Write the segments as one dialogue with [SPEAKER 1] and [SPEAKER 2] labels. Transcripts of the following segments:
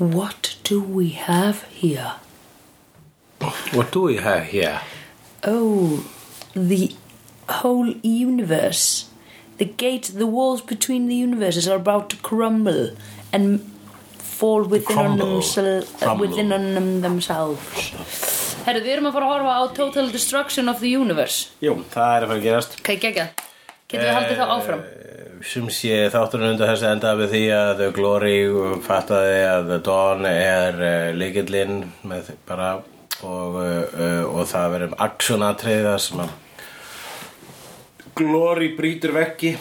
[SPEAKER 1] What do we have here?
[SPEAKER 2] What do we have here?
[SPEAKER 1] Oh, the whole universe. The gate, the walls between the universes are about to crumble and fall within, on,
[SPEAKER 2] Crumble.
[SPEAKER 1] themsel- uh,
[SPEAKER 2] Crumble.
[SPEAKER 1] within on them themselves.
[SPEAKER 3] Herru, við erum að fara að horfa á Total Destruction of the Universe
[SPEAKER 2] Jú, það er að fara að gerast
[SPEAKER 3] Ok, geggjað Getum við haldið
[SPEAKER 2] Eh,
[SPEAKER 3] þá áfram?
[SPEAKER 2] sem sé þátturinn undir þessu endaði við því að Glory fattaði að Dawn er uh, líkillinn með bara og, uh, uh, og það verðum aksjonatriða sem að Glory brýtur vekki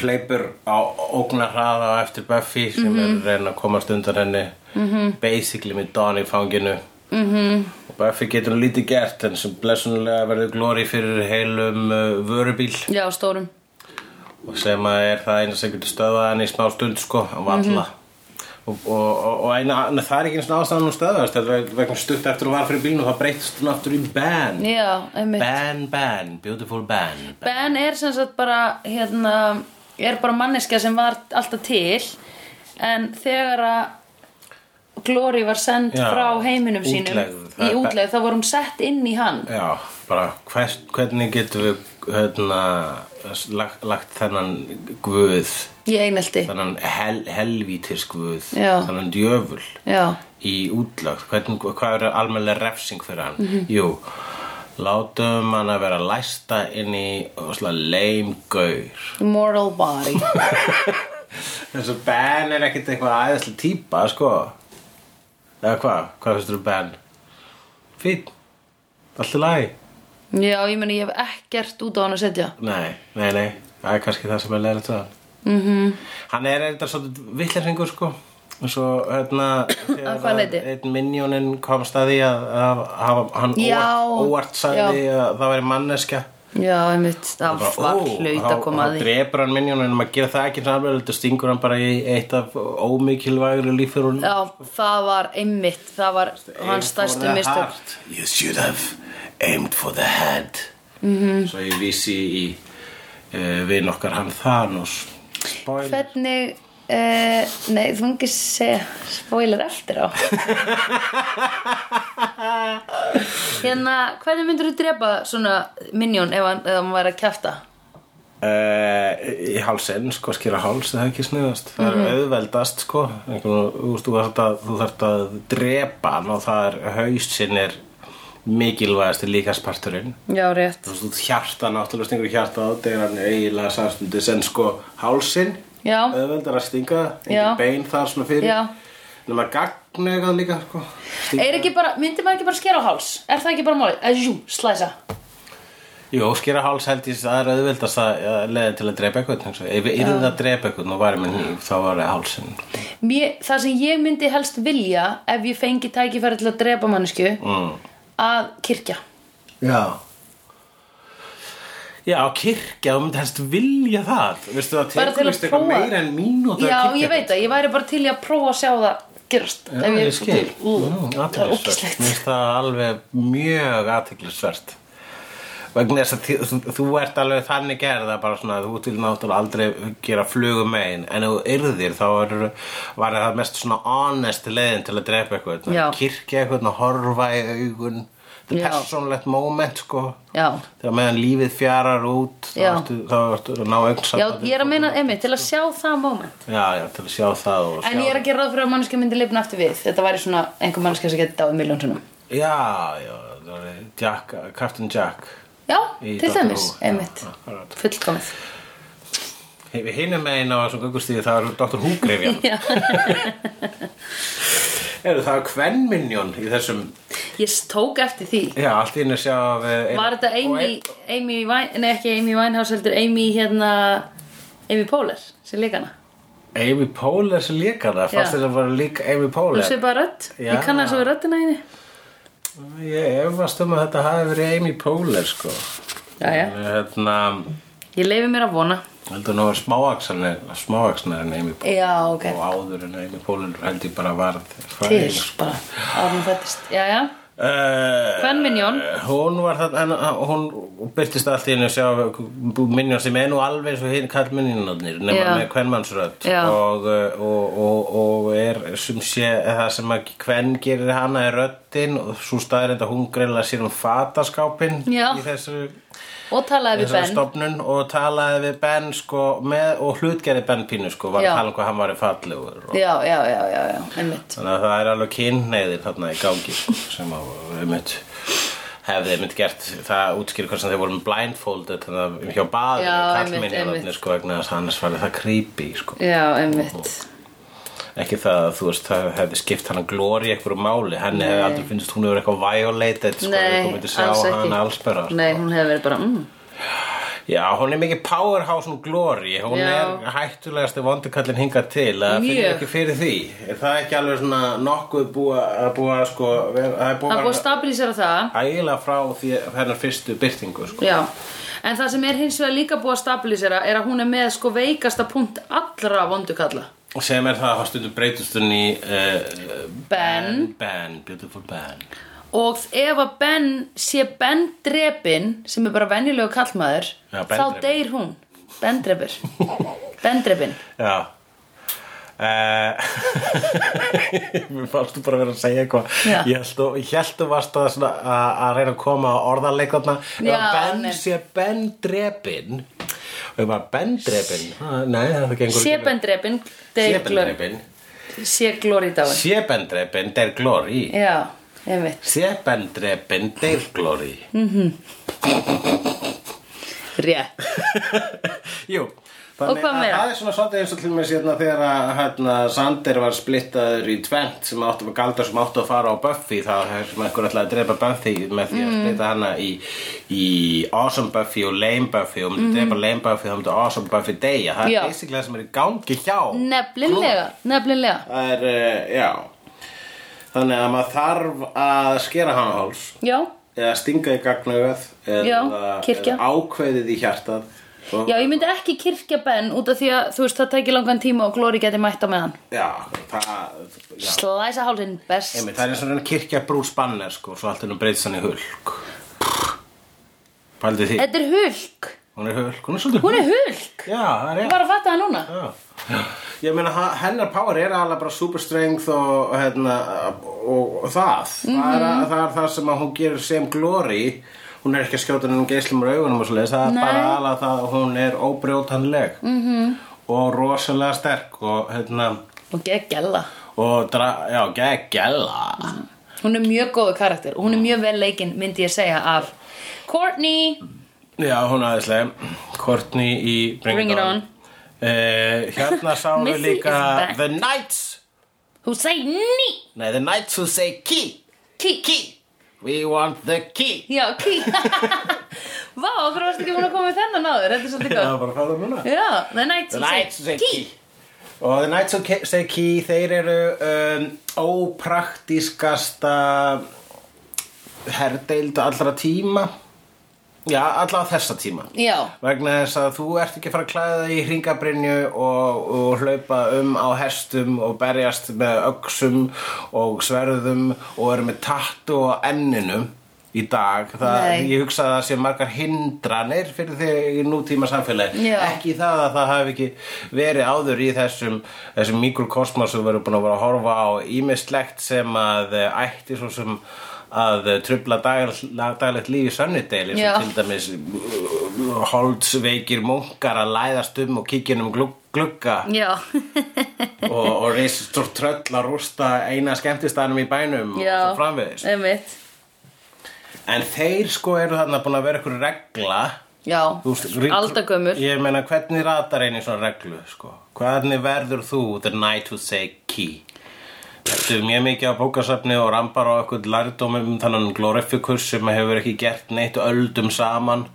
[SPEAKER 2] hleypur á ógnar hraða á eftir Buffy sem er að reyna að komast undan henni -hmm. basically með Dawn í fanginu -hmm. og Buffy getur nú lítið gert en sem blessunulega verður Glory fyrir heilum uh, vörubíl
[SPEAKER 3] Já, stórum
[SPEAKER 2] og sem að er það eina sem getur stöðað hann í smá stund sko,
[SPEAKER 3] Mhm.
[SPEAKER 2] að valla og, og, og, og eina, na, það er ekki eins og ástæðan hún stöðast þetta er vegna stutt eftir hún var fyrir bílnum þá breytist hún aftur í ban
[SPEAKER 3] Já, einmitt
[SPEAKER 2] ban, ban, beautiful ban
[SPEAKER 3] Ben er sem sagt bara hérna, er bara manneska sem var alltaf til en þegar að Glory var send
[SPEAKER 2] Já,
[SPEAKER 3] frá heiminum sínum
[SPEAKER 2] útlegð.
[SPEAKER 3] í útlegð þá vorum sett inn í hann
[SPEAKER 2] já, bara hvers, hvernig getum við hérna, lagt, lagt þennan guð
[SPEAKER 3] í einelti
[SPEAKER 2] þennan hel, helvítis guð
[SPEAKER 3] Já.
[SPEAKER 2] þennan djöful
[SPEAKER 3] Já,
[SPEAKER 2] í útlögt hvernig, hvað er almennlega refsing fyrir hann jú, látum hann að vera læsta inn í ósla, leimgaur
[SPEAKER 3] moral body
[SPEAKER 2] þess að Ben er ekkit eitthvað aðeinslega típa sko eða hvað, hvað finnst þú Ben fín, allt í lagi
[SPEAKER 3] Já, ég meni ég hef ekkert út á hann að setja
[SPEAKER 2] nei, nei, nei, það er kannski það sem er leiðilegt það
[SPEAKER 3] mm
[SPEAKER 2] hann er eitthvað svolítið vittlæsingur sko og svo hérna
[SPEAKER 3] Að hvað leyti?
[SPEAKER 2] einn minjónin komst að því að, að, að hann
[SPEAKER 3] Já,
[SPEAKER 2] óvart, óvart sagði
[SPEAKER 3] já.
[SPEAKER 2] að það væri manneskja
[SPEAKER 3] Já, einmitt, það
[SPEAKER 2] Bara,
[SPEAKER 3] var
[SPEAKER 2] ó,
[SPEAKER 3] hlaut
[SPEAKER 2] þá-
[SPEAKER 3] að koma að
[SPEAKER 2] þá
[SPEAKER 3] því
[SPEAKER 2] drepur hann minjónum en maður gera það ekki sem alveg heldur stingur hann bara í eitt af ómikilvægri lífur hún
[SPEAKER 3] Já, það var einmitt, það var hans stærstu mistök
[SPEAKER 2] you should have aimed for the head mm -hmm. svo ég vísi í uh, vin okkar hann Thanos spoiler
[SPEAKER 3] Hvernig Uh, nei, þú mungi segja spoiler eftir á Hérna, hvernig myndur þú drepa svona minjón ef hann, ef hann væri að kjæfta?
[SPEAKER 2] Uh, í hálsinn, sko, skýra háls það er ekki sniðast, það er auðveldast sko, einhvern veginn, þú þarft að þú þarft að drepa hann og það er hausinn er mikilvægasti líkasparturinn
[SPEAKER 3] Já, rétt
[SPEAKER 2] þú veist, þú hjarta náttúrulega stingur í hjarta á þegar hann er eiginlega samstundis en sko hálsinn,
[SPEAKER 3] Já.
[SPEAKER 2] auðveldar að stinga
[SPEAKER 3] Já.
[SPEAKER 2] engin bein þar svona fyrir
[SPEAKER 3] Já.
[SPEAKER 2] nema gagnegað líka sko, stinga,
[SPEAKER 3] Er ekki bara, myndir maður ekki bara skera á háls? Er það ekki bara málið? Eh, Jú, slæsa
[SPEAKER 2] jú, skýra háls held ég það er auðveldast að leða til að drepa eitthvað eins og- ef ég yrði að drepa eitthvað og væri minn hýf, þá var hálsinn
[SPEAKER 3] Mér, Það sem ég myndi helst vilja ef ég fengi tækifæri til að drepa mannesku
[SPEAKER 2] mm.
[SPEAKER 3] að kirkja
[SPEAKER 2] Já Já, kirkja, þú myndi helst vilja það Veistu það
[SPEAKER 3] Bara til
[SPEAKER 2] tekur
[SPEAKER 3] að
[SPEAKER 2] veist eitthvað
[SPEAKER 3] prófa.
[SPEAKER 2] meira en mínúta
[SPEAKER 3] Já, ég veit það, ég væri bara til í að prófa að sjá það gerast
[SPEAKER 2] Já,
[SPEAKER 3] Ef
[SPEAKER 2] ég, skil
[SPEAKER 3] Ú,
[SPEAKER 2] Nú,
[SPEAKER 3] Mm, Það er
[SPEAKER 2] athyglisvert.
[SPEAKER 3] ógislegt
[SPEAKER 2] Mér finnst það alveg mjög aðteglisvert vegna þess að þi- þú, þú ert alveg þannig gerða bara svona að þú til náttúrulega aldrei gera flugum megin en ef þú yrðir þá er, var það mest svona honest leiðin til að drepa eitthvað
[SPEAKER 3] Já.
[SPEAKER 2] Að kirkja eitthvað, að horfa í augun þetta
[SPEAKER 3] Já.
[SPEAKER 2] er persónlegt moment sko
[SPEAKER 3] Já
[SPEAKER 2] þegar meðan lífið fjarar út þá
[SPEAKER 3] Já.
[SPEAKER 2] ertu, þá ertu að ná
[SPEAKER 3] Já,
[SPEAKER 2] augnsamt
[SPEAKER 3] ég er að meina, emi, til að sjá það moment
[SPEAKER 2] já, já, til að sjá það og
[SPEAKER 3] En
[SPEAKER 2] sjá
[SPEAKER 3] ég er að gera ráð fyrir að mannskja myndi lifna aftur við Þetta væri svona einhver mannskja sem geti dáið miljón svona
[SPEAKER 2] já, já, það er Jack, Captain Jack
[SPEAKER 3] Já,
[SPEAKER 2] Í
[SPEAKER 3] til
[SPEAKER 2] Doctor
[SPEAKER 3] dæmis,
[SPEAKER 2] Who, já,
[SPEAKER 3] emitt
[SPEAKER 2] akkurat.
[SPEAKER 3] Fullkomið
[SPEAKER 2] við hinum megin á þessum göngustíði það er Dr. Húgrifjan
[SPEAKER 3] Já.
[SPEAKER 2] eru það kvenminjón í þessum
[SPEAKER 3] Ég tók eftir því
[SPEAKER 2] já, allt í henni sjá við ein-
[SPEAKER 3] Var þetta
[SPEAKER 2] og E-
[SPEAKER 3] Amy,
[SPEAKER 2] ein-
[SPEAKER 3] Amy Vine, nei ekki Amy Winehouse heldur Amy hérna Amy Poehler, sem líka hana
[SPEAKER 2] Amy Poehler sem líka það
[SPEAKER 3] Já.
[SPEAKER 2] fannst þetta bara líka Amy
[SPEAKER 3] Þú
[SPEAKER 2] Poehler
[SPEAKER 3] sé bara rödd,
[SPEAKER 2] Já.
[SPEAKER 3] ég kann að svo við röddina henni
[SPEAKER 2] ég efast um að þetta hafi verið Amy Poehler sko
[SPEAKER 3] Jæja,
[SPEAKER 2] hérna
[SPEAKER 3] ég leifi mér að vona
[SPEAKER 2] heldur nú að smáaksanar smáaksanar en Amy Poehler
[SPEAKER 3] Já, ok,
[SPEAKER 2] og áður en Amy Poehler held ég bara varð
[SPEAKER 3] til
[SPEAKER 2] fræðileg, sko.
[SPEAKER 3] bara, árum fættist Jæja,
[SPEAKER 2] Uh,
[SPEAKER 3] Kvenminjón.
[SPEAKER 2] Hún var það en, ah, Hún byrtist allt í henni að sjá Minjón sem er nú alveg svo hinn kall minjónarnir nema
[SPEAKER 3] Já.
[SPEAKER 2] með kvenmannsrödd
[SPEAKER 3] Já.
[SPEAKER 2] og, uh, og, og, og er sem sé það sem að kvenn gerir hana er röddin og svo staðir þetta hún greila sér um fataskápin
[SPEAKER 3] Já.
[SPEAKER 2] í þessu
[SPEAKER 3] og talaði við
[SPEAKER 2] þessari
[SPEAKER 3] Ben
[SPEAKER 2] stofnun og talaði við Ben sko, með, og hlutgerði Ben pínu sko, var
[SPEAKER 3] Já.
[SPEAKER 2] að tala um hvað hann var í fallegur og,
[SPEAKER 3] já, já, já, já, já, einmitt
[SPEAKER 2] þannig að það er alveg kynneiðir þarna í gangi sko, sem að einmitt hefði einmitt gert það útskýr hvort sem þeir voru með blindfolded þannig að hjá baður
[SPEAKER 3] Já, einmitt,
[SPEAKER 2] kallminni
[SPEAKER 3] einmitt.
[SPEAKER 2] þarna sko vegna þess að annars var það creepy sko.
[SPEAKER 3] já, einmitt
[SPEAKER 2] ekki það að þú veist það hefði skipt hann að glóri einhverju máli henni hefði aldrei finnst hún hefur eitthvað violated sko,
[SPEAKER 3] Nei,
[SPEAKER 2] þú myndir sjá
[SPEAKER 3] alls ekki.
[SPEAKER 2] hana alls bara sko.
[SPEAKER 3] nei, hún hefði verið bara mm,
[SPEAKER 2] Já, hún er mikið powerhouse og glory hún
[SPEAKER 3] Já.
[SPEAKER 2] er hættulegasti vondukallin hingað til það finnir
[SPEAKER 3] Mjög.
[SPEAKER 2] ekki fyrir því er það ekki alveg svona nokkuð búa, að búa sko, ver- það er búa,
[SPEAKER 3] það er búið að stabilisera það
[SPEAKER 2] ægilega frá því hennar fyrstu byrtingu sko.
[SPEAKER 3] Já, en það sem er hins vegar líka búið að stabilisera er að hún er með sko veikasta punkt allra vondukalla.
[SPEAKER 2] sem er það að hann stundum breytist hún í uh,
[SPEAKER 3] Ben.
[SPEAKER 2] Ben, beautiful Ben
[SPEAKER 3] Og ef að Ben sé Ben drepin, sem er bara venjulegu kallmaður,
[SPEAKER 2] Já, Ben
[SPEAKER 3] þá
[SPEAKER 2] drepinn.
[SPEAKER 3] deyr hún. Ben drepir. ben drepin.
[SPEAKER 2] Já Uh, mér fannst þú bara vera að segja eitthvað
[SPEAKER 3] Já.
[SPEAKER 2] ég held og- ég held þú varst að, svona, að, að reyna að koma að orðarleikarna
[SPEAKER 3] Já,
[SPEAKER 2] eða Ben
[SPEAKER 3] nei.
[SPEAKER 2] sé Ben drepin og ég bara Ben drepin Ha, nei það gengur
[SPEAKER 3] Sé
[SPEAKER 2] ekki
[SPEAKER 3] Ben drepin,
[SPEAKER 2] sé
[SPEAKER 3] deyr
[SPEAKER 2] Ben
[SPEAKER 3] glóri.
[SPEAKER 2] drepin
[SPEAKER 3] Sé glóri í dáin.
[SPEAKER 2] sé Ben drepin der glory
[SPEAKER 3] Já, einmitt.
[SPEAKER 2] sé Ben drepin der glory
[SPEAKER 3] Rétt.
[SPEAKER 2] Jú
[SPEAKER 3] Og
[SPEAKER 2] Þannig
[SPEAKER 3] hvað
[SPEAKER 2] að
[SPEAKER 3] meira?
[SPEAKER 2] það er svona svolítið eins og til mér sérna þegar að hérna, Sander var splittaður í tvent sem áttu að galda sem áttu að fara á Buffy þá er sem einhver ætlaði að drepa Buffy með því
[SPEAKER 3] Mm.
[SPEAKER 2] að splitta hana í, í Awesome Buffy og Lame Buffy og myndi drepa Lame Buffy þá myndi Awesome Buffy deyja það
[SPEAKER 3] Mhm. Já.
[SPEAKER 2] er basically það sem er í gangi hjá
[SPEAKER 3] Nefnilega, nefnilega.
[SPEAKER 2] Það er, uh, já Þannig að maður þarf að skera hana á háls
[SPEAKER 3] Já,
[SPEAKER 2] eða stinga í gagnaugað
[SPEAKER 3] Já,
[SPEAKER 2] eða,
[SPEAKER 3] kirkja.
[SPEAKER 2] eða ákveðið í hjartað og
[SPEAKER 3] já, ég myndi ekki kirkja Ben út af því að þú veist það tækir langan tíma og glóri geti mætt á með hann.
[SPEAKER 2] Já, það, já.
[SPEAKER 3] Slæsa hálfinn best.
[SPEAKER 2] Einmitt, það er eins og reyna kirkja brúr spanner sko, svo allt henni breytist hann í hulk. Pældi því,
[SPEAKER 3] Þetta er hulk.
[SPEAKER 2] hún er hulk, hún er svolítið
[SPEAKER 3] Hún er hulk.
[SPEAKER 2] Já, það er
[SPEAKER 3] Ég
[SPEAKER 2] rétt.
[SPEAKER 3] var að fatta það núna.
[SPEAKER 2] Já. Já. Ég meina, ha- hennar power er alveg bara super strength og, og hérna, og, og það. Það, er,
[SPEAKER 3] Mhm.
[SPEAKER 2] að- það er það sem að hún gerir sem glory. Hún er ekki að skjóta henni geislum úr augunum og svoleiðis. Það er
[SPEAKER 3] Nei. Mhm.
[SPEAKER 2] bara alveg það að hún er óbrjótanleg. -hmm. Og rosalega sterk og hérna,
[SPEAKER 3] Og geggjalla.
[SPEAKER 2] og dra, já, geggjala.
[SPEAKER 3] Hún er mjög góðu karakter og hún er mjög vel leikinn, myndi ég segja, af Courtney.
[SPEAKER 2] Já, hún aðeinslega Courtney í Bring,
[SPEAKER 3] Bring It On.
[SPEAKER 2] Eh, hérna sáum við
[SPEAKER 3] Missy
[SPEAKER 2] líka
[SPEAKER 3] is back.
[SPEAKER 2] The Knights
[SPEAKER 3] Who say ný.
[SPEAKER 2] Nei, The Knights who say key
[SPEAKER 3] Key.
[SPEAKER 2] Key We want the key
[SPEAKER 3] Já, key. Vá, okkur varst ekki búin að koma með þennan áður. Þetta er svolítið góð.
[SPEAKER 2] bara fara núna
[SPEAKER 3] Já, the night
[SPEAKER 2] The
[SPEAKER 3] who
[SPEAKER 2] Knights who
[SPEAKER 3] say
[SPEAKER 2] say
[SPEAKER 3] key.
[SPEAKER 2] key Og The Knights who Ki- say key Þeir eru um, ópraktískasta herdeild allra tíma Já, allra á þessa tíma
[SPEAKER 3] Já,
[SPEAKER 2] vegna þess að þú ert ekki að fara að klæða þig í hringabrinju og, og hlaupa um á hestum og berjast með öxum og sverðum og eru með tattu á enninu í dag það,
[SPEAKER 3] Nei.
[SPEAKER 2] ég hugsa að það sé margar hindranir fyrir þig í nútíma samfélagi
[SPEAKER 3] Já.
[SPEAKER 2] ekki það að það hafi ekki verið áður í þessum, þessum mikrokosmos sem við erum búin að vera að horfa á ímislegt sem að eh, ætti svo sem að eh, trufla dagl- daglegt líf í sönnudeili
[SPEAKER 3] Já.
[SPEAKER 2] sem til dæmis uh, holdsveikir munkar að læðast um og kíkja um glugg glugga
[SPEAKER 3] já,
[SPEAKER 2] og, og reisir stór tröll að rústa eina skemmtistanum í bænum
[SPEAKER 3] já.
[SPEAKER 2] og svo framvegis
[SPEAKER 3] Einmitt.
[SPEAKER 2] en þeir sko eru þarna búin að vera ykkur regla
[SPEAKER 3] Já,
[SPEAKER 2] Þú veist, rík-
[SPEAKER 3] aldagömmur.
[SPEAKER 2] ég meina hvernig ratar einu svona reglu sko? hvernig verður þú the night who say key Þetta er mjög mikið á bókasafni og rambar á eitthvað lærdómum um þannan glorifikus sem hefur ekki gert neitt öldum saman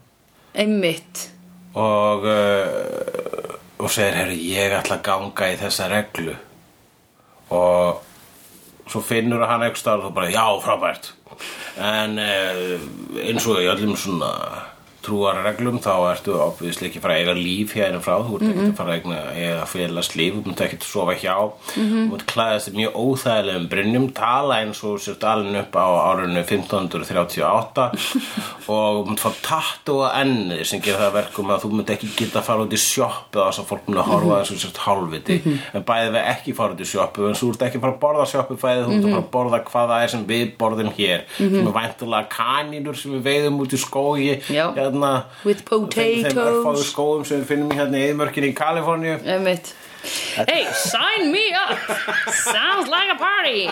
[SPEAKER 3] Einmitt.
[SPEAKER 2] og uh, og segir, herru, ég ætla að ganga í þessa reglu og svo finnur hann ekki eh, starf og þú bara, já, frábært en uh, eins og í öllum svona trúar reglum þá ertu obviously ekki að fara að eiga líf hérna frá þú ert ekki að fara að eigna eða félast líf þú munt ekki að sofa hjá þú munt klæðast í mjög óþægilegum brinnum tala eins og sért alveg upp á árunni 1538 og þú munt fá tattu á ennið sem gera það að verkum að þú munt ekki geta að fara út í sjoppu þess að fólk mun að horfa eins og sért hálfviti
[SPEAKER 1] Mhm.
[SPEAKER 2] en bæði við ekki fara út í sjoppu en þú ert ekki að fara að borða sjoppufæði þú ert
[SPEAKER 1] Mhm.
[SPEAKER 2] að fara að borða hvað það er sem við borðum hér sem er væntulega kanínur sem við veiðum út í skógi
[SPEAKER 3] Já.
[SPEAKER 2] hérna
[SPEAKER 1] With
[SPEAKER 2] þeim- þeim örfáðu
[SPEAKER 1] potatoes
[SPEAKER 2] skóum sem við finnum hérna í eðmörkinni í Kaliforníu
[SPEAKER 3] Einmitt. Hey, sign me up Sounds like a party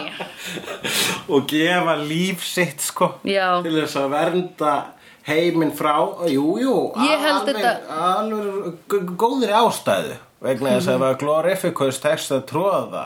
[SPEAKER 2] og gefa líf sitt sko
[SPEAKER 3] Já.
[SPEAKER 2] til þess að vernda heiminn frá jú, jú,
[SPEAKER 3] Ég held
[SPEAKER 2] alveg,
[SPEAKER 3] þetta-
[SPEAKER 2] alveg g- góðri ástæðu vegna þess að það
[SPEAKER 3] Mhm.
[SPEAKER 2] var glorificus tekst að tróða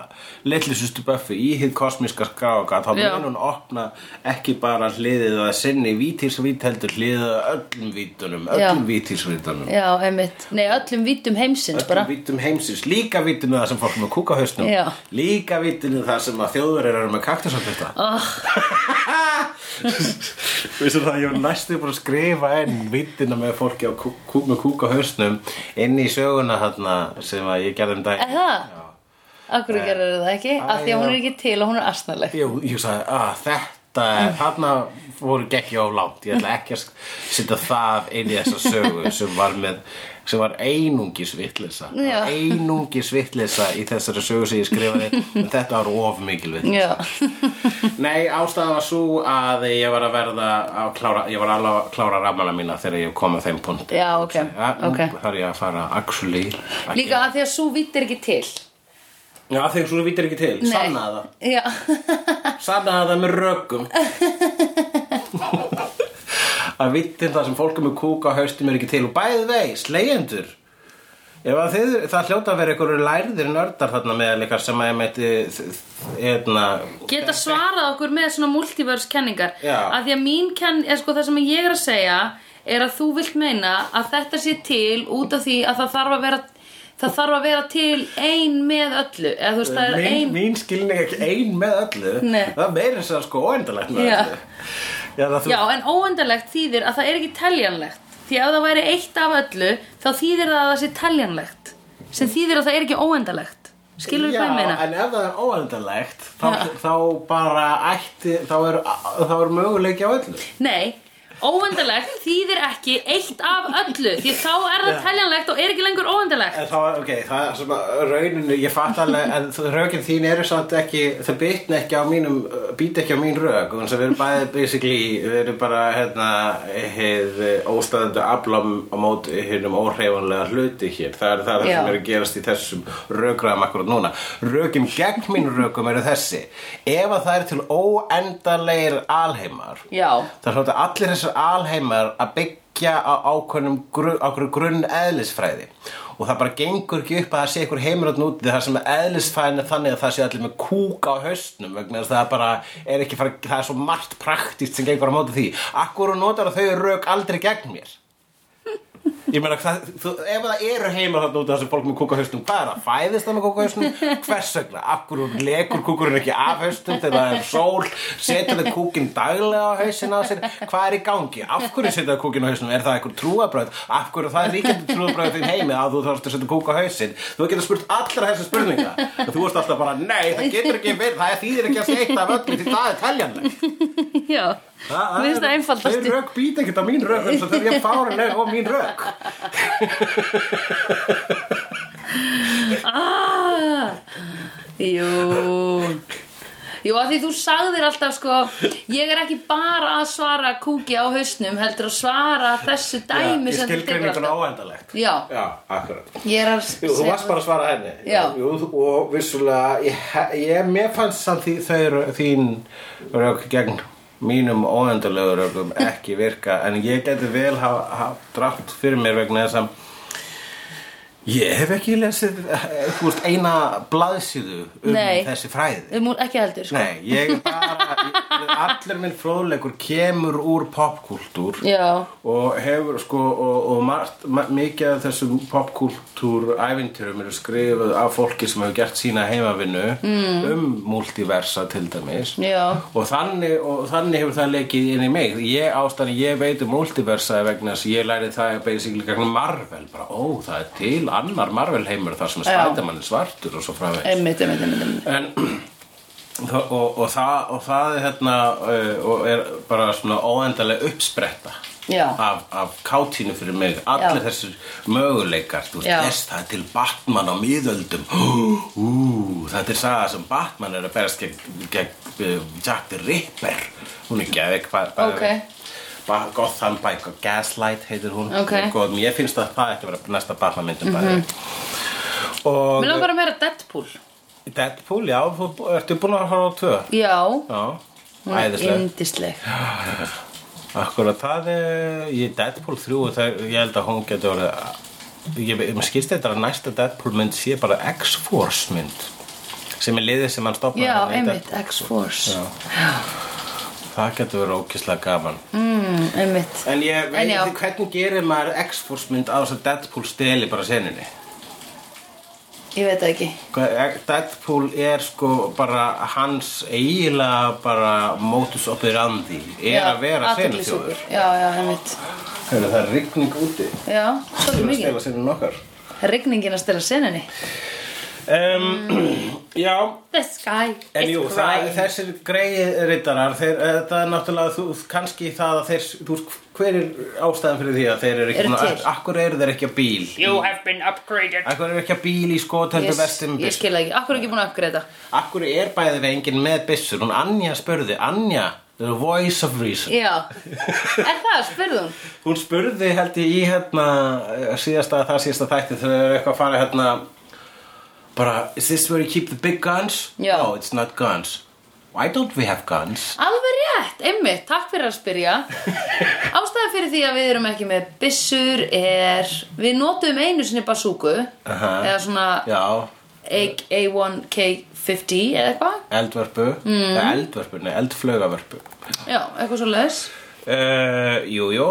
[SPEAKER 2] litlisustu Buffy í hið kosmíska skráka þá
[SPEAKER 3] Já.
[SPEAKER 2] mun hún opna ekki bara hliðið að sinni vítísvít heldur hliðið að öllum vítunum öllum
[SPEAKER 3] Já.
[SPEAKER 2] vítísvítunum
[SPEAKER 3] Já, einmitt Nei, öllum vítum heimsins bara
[SPEAKER 2] öllum vítum heimsins, líka vítinu það sem fólk er með kúkahausnum,
[SPEAKER 3] Já.
[SPEAKER 2] líka vítinu það sem að þjóðverðir eru með kaktusafbyrta oh. Vissu það, ég var næstu bara að skrifa enn vítina með fólki á kú, kú, með kúkahausnum inn í söguna þarna sem að ég gerði um dag
[SPEAKER 3] Er það? Akkur gerir það ekki? Af því að hún er ekki til og hún er asnaleg
[SPEAKER 2] Jú, ég sagði, að þetta
[SPEAKER 3] Mm.
[SPEAKER 2] er, þarna voru gekk ég á langt ég ætla ekki að sk- setja það inn í þessa sögu sem var með sem var einungis vitleysa
[SPEAKER 3] Já.
[SPEAKER 2] einungis vitleysa í þessari sögu sem ég skrifaði en þetta var of mikil vitleysa
[SPEAKER 3] Já,
[SPEAKER 2] Nei, ástæða var svo að ég var að verða að klára, ég var alveg að klára rammana mína þegar ég kom að þeim punkti
[SPEAKER 3] Já, ok, ok.
[SPEAKER 2] Þar ég að fara actually að
[SPEAKER 3] líka af því að svo vitt er ekki til
[SPEAKER 2] gera- Já, þegar svo vitir ekki til,
[SPEAKER 3] Nei.
[SPEAKER 2] sannaði það
[SPEAKER 3] Já,
[SPEAKER 2] Sannaði það með rökum Að vittin það sem fólk er með kúka á haustum er ekki til og bæði vei, slegjendur Ef að þið, það hljóta að vera einhverju lærðir nördar þarna meðal ykkar sem að ég meiti hérna,
[SPEAKER 3] geta svarað okkur með svona multiverse kenningar
[SPEAKER 2] Já.
[SPEAKER 3] Af því að mín kenning, eða sko það sem ég er að segja er að þú vilt meina að þetta sé til út af því að það þarf að vera það þarf að vera til ein með öllu eða þú veist það er
[SPEAKER 2] mín,
[SPEAKER 3] ein
[SPEAKER 2] mín skilning ekki ein með öllu
[SPEAKER 3] Nei.
[SPEAKER 2] það meira sér sko óendalegt með
[SPEAKER 3] Já.
[SPEAKER 2] öllu Já, það þú,
[SPEAKER 3] Já, en óendanlegt þýðir að það er ekki teljanlegt Því ef það væri eitt af öllu þá þýðir það að það sé teljanlegt sem þýðir að það er ekki óendanlegt Skilur við hvað ég meina?
[SPEAKER 2] en ef það er óendalegt þá, þá bara ætti þá er, þá er möguleiki á öllu
[SPEAKER 3] Nei, óendanlegt þýðir ekki eitt af öllu Því þá er það
[SPEAKER 2] Já.
[SPEAKER 3] teljanlegt og er ekki lengur óendanlegt
[SPEAKER 2] En þá, ok, það er sem að rauninu, ég fatt alveg, en þau- rökin þín eru samt ekki, þau bitna ekki á mínum, býta ekki á mín rök, þannig að við erum bæði basically, við erum bara, hérna, heið óstæðandi aflam á móti hinnum óhreifanlega hluti hér, það er það
[SPEAKER 3] Já.
[SPEAKER 2] sem er að gerast í þessum rökraðum akkurat núna. Rökin gegn mín rökum eru þessi, ef að það er til óendalegir alheimar,
[SPEAKER 3] Já,
[SPEAKER 2] Það er svona að allir þessar alheimar að byggja á ákveðnum gru, ákveðnum grunn eðlisfræði og það bara gengur ekki upp að það sé einhver heimur átn úti þar sem er eðlisfræðin er þannig að það sé allir með kúk á hausnum vegna þess að það bara er ekki fara, það er svo margt praktíst sem gengur á móti því Akkur og notar þau rauk aldrei gegn mér Ég meina, það, þú, ef það eru heimar þarna út af þessu fólk með kúkahausnum, hvað er það? Fæðist það með kúkahausnum? Hvers vegna? Af hverju lekur kúkurinn ekki af hausnum þegar það er sól? Setur það kúkinn daglega á hausinn á sér? Hvað er í gangi? Af hverju setur það kúkinn á hausnum? Er það einhver trúabröð? Af hverju er það er ríkjandi trúabröð þín heimi að þú þarfst að setja kúk á hausinn? Þú getur spurt allra þessu spurninga. En Þú ert alltaf bara, nei, það getur ekki verið, það þýðir ekki að segja af öllu því það er teljanlegt.
[SPEAKER 3] já Mér finnst það einfaldast
[SPEAKER 2] Þeir rök býta ekkert á mín rök eins og þegar ég fára leg á mín rök
[SPEAKER 3] ah, Jú Jú, af því þú sagðir alltaf sko Ég er ekki bara að svara kúki á hausnum heldur að svara þessu dæmi sem þú
[SPEAKER 2] Í
[SPEAKER 3] tekur
[SPEAKER 2] skilgreininguna
[SPEAKER 3] alltaf
[SPEAKER 2] óendalegt
[SPEAKER 3] Já,
[SPEAKER 2] Já, akkurat
[SPEAKER 3] ég er að
[SPEAKER 2] Jú, þú varst bara að svara henni
[SPEAKER 3] Já.
[SPEAKER 2] Jú, þú- og vissulega ég, ég, mér fannst samt því, þau, þín rök gegn mínum óendalegu rökum ekki virka en ég geti vel hafa ha, drátt fyrir mér vegna þess að ég hef ekki lesið eh, þú veist, eina blaðsíðu um
[SPEAKER 3] Nei.
[SPEAKER 2] þessi fræði
[SPEAKER 3] Um, hún- ekki heldur sko.
[SPEAKER 2] Nei, ég bara allir minn fróðleikur kemur úr popkúltúr
[SPEAKER 3] Já.
[SPEAKER 2] og hefur sko og, og margt, ma- mikið af þessum popkúltúr ævintýrum eru skrifuð af fólki sem hefur gert sína heimavinnu mm. um multiversa til dæmis
[SPEAKER 3] Já.
[SPEAKER 2] og þannig, og þannig hefur það leikið inn í mig ég ástæðan ég veit um multiversa er vegna þess að ég læri það basically gegnum Marvel bara ó það er til annar Marvel heimur þar sem
[SPEAKER 3] Já.
[SPEAKER 2] Spiderman er svartur og svo framveg
[SPEAKER 3] Einmitt, einmitt, einmitt, einmitt.
[SPEAKER 2] en þa- og, og, það, og það er hérna uh, og er bara svona óendalega uppspretta
[SPEAKER 3] Já.
[SPEAKER 2] af, af kátínu fyrir mig allir
[SPEAKER 3] Já.
[SPEAKER 2] þessir möguleikar þú
[SPEAKER 3] Já.
[SPEAKER 2] veist, þess það er til Batman á miðöldum ú, þetta er saga sem Batman er að berast gegn, gegn uh, Jack the Ripper hún er geðveik bara- bara-
[SPEAKER 3] Ok.
[SPEAKER 2] Ba- Gotham by Gaslight heitir hún
[SPEAKER 3] Ok. Mhm.
[SPEAKER 2] Góð, mér finnst að það ætti að vera næsta Batman myndum mm -hmm. og
[SPEAKER 3] Mér langar að meira Deadpool.
[SPEAKER 2] Deadpool, já, þú ertu búin að horfa á tvö
[SPEAKER 3] Já.
[SPEAKER 2] Já,
[SPEAKER 3] Hún er
[SPEAKER 2] æðislega
[SPEAKER 3] Yndisleg.
[SPEAKER 2] Akkurat það er, ég Deadpool 3 og það, ég held að hún getur orðið ég, ég mér skilst þetta að næsta Deadpool mynd sé bara X-Force mynd sem er liðið sem hann stopnaði
[SPEAKER 3] Já,
[SPEAKER 2] hann í
[SPEAKER 3] einmitt,
[SPEAKER 2] Deadpool.
[SPEAKER 3] X-Force.
[SPEAKER 2] Já. Það getur verið ókislega gaman
[SPEAKER 3] Mm, einmitt.
[SPEAKER 2] En ég veit
[SPEAKER 3] En já.
[SPEAKER 2] ekki hvernig gerir maður X-Force mynd á þess að Deadpool steli bara seninni
[SPEAKER 3] Ég veit það ekki.
[SPEAKER 2] Hvað- Deadpool er sko bara hans eiginlega bara modus operandi er
[SPEAKER 3] Já,
[SPEAKER 2] að vera
[SPEAKER 3] athyglisjúkur.
[SPEAKER 2] senutjóður
[SPEAKER 3] Já, já, einmitt.
[SPEAKER 2] Hefur það er rigning úti
[SPEAKER 3] Já, svolítið
[SPEAKER 2] að
[SPEAKER 3] mikið.
[SPEAKER 2] stela sinni nokkar
[SPEAKER 3] Rigningin að stela senunni.
[SPEAKER 2] um, Já,
[SPEAKER 3] The sky
[SPEAKER 2] en
[SPEAKER 3] is
[SPEAKER 2] jú, það,
[SPEAKER 3] crying.
[SPEAKER 2] þessir greiðrittarar þeir, þetta er náttúrulega þú, kannski það að þeir þú, veist, hver er ástæðan fyrir því að þeir eru ekki
[SPEAKER 3] Eru
[SPEAKER 2] búin að-
[SPEAKER 3] til.
[SPEAKER 2] Akkur eru þeir ekki að bíl
[SPEAKER 4] You have been upgraded.
[SPEAKER 2] Akkur eru ekki að bíl í skoteldu
[SPEAKER 3] Ég,
[SPEAKER 2] vestum
[SPEAKER 3] ég skil það ekki. Akkur er ekki búin að uppgreita.
[SPEAKER 2] Akkur er bæði við enginn með byssur Hún Anja spurði, Anja The voice of reason
[SPEAKER 3] Já. er það, spurðu hún.
[SPEAKER 2] Hún spurði held ég í hérna eh, síðasta, það síðasta þætti þegar þau eru eitthvað að fara hérna bara, is this where you keep the big guns?
[SPEAKER 3] Já.
[SPEAKER 2] No, it's not guns. Why don't we have guns?
[SPEAKER 3] Alveg rétt, einmitt, takk fyrir að spyrja Ástæðan fyrir því að við erum ekki með byssur er Við notum einu sinni basúku
[SPEAKER 2] Aha.
[SPEAKER 3] Eða svona
[SPEAKER 2] Já,
[SPEAKER 3] AK- A1K50 eða eitthvað
[SPEAKER 2] eldvörpu, mm. eldvörpu, nei, eldflögavörpu.
[SPEAKER 3] Já, eitthvað svo les
[SPEAKER 2] Uh, jú, jú,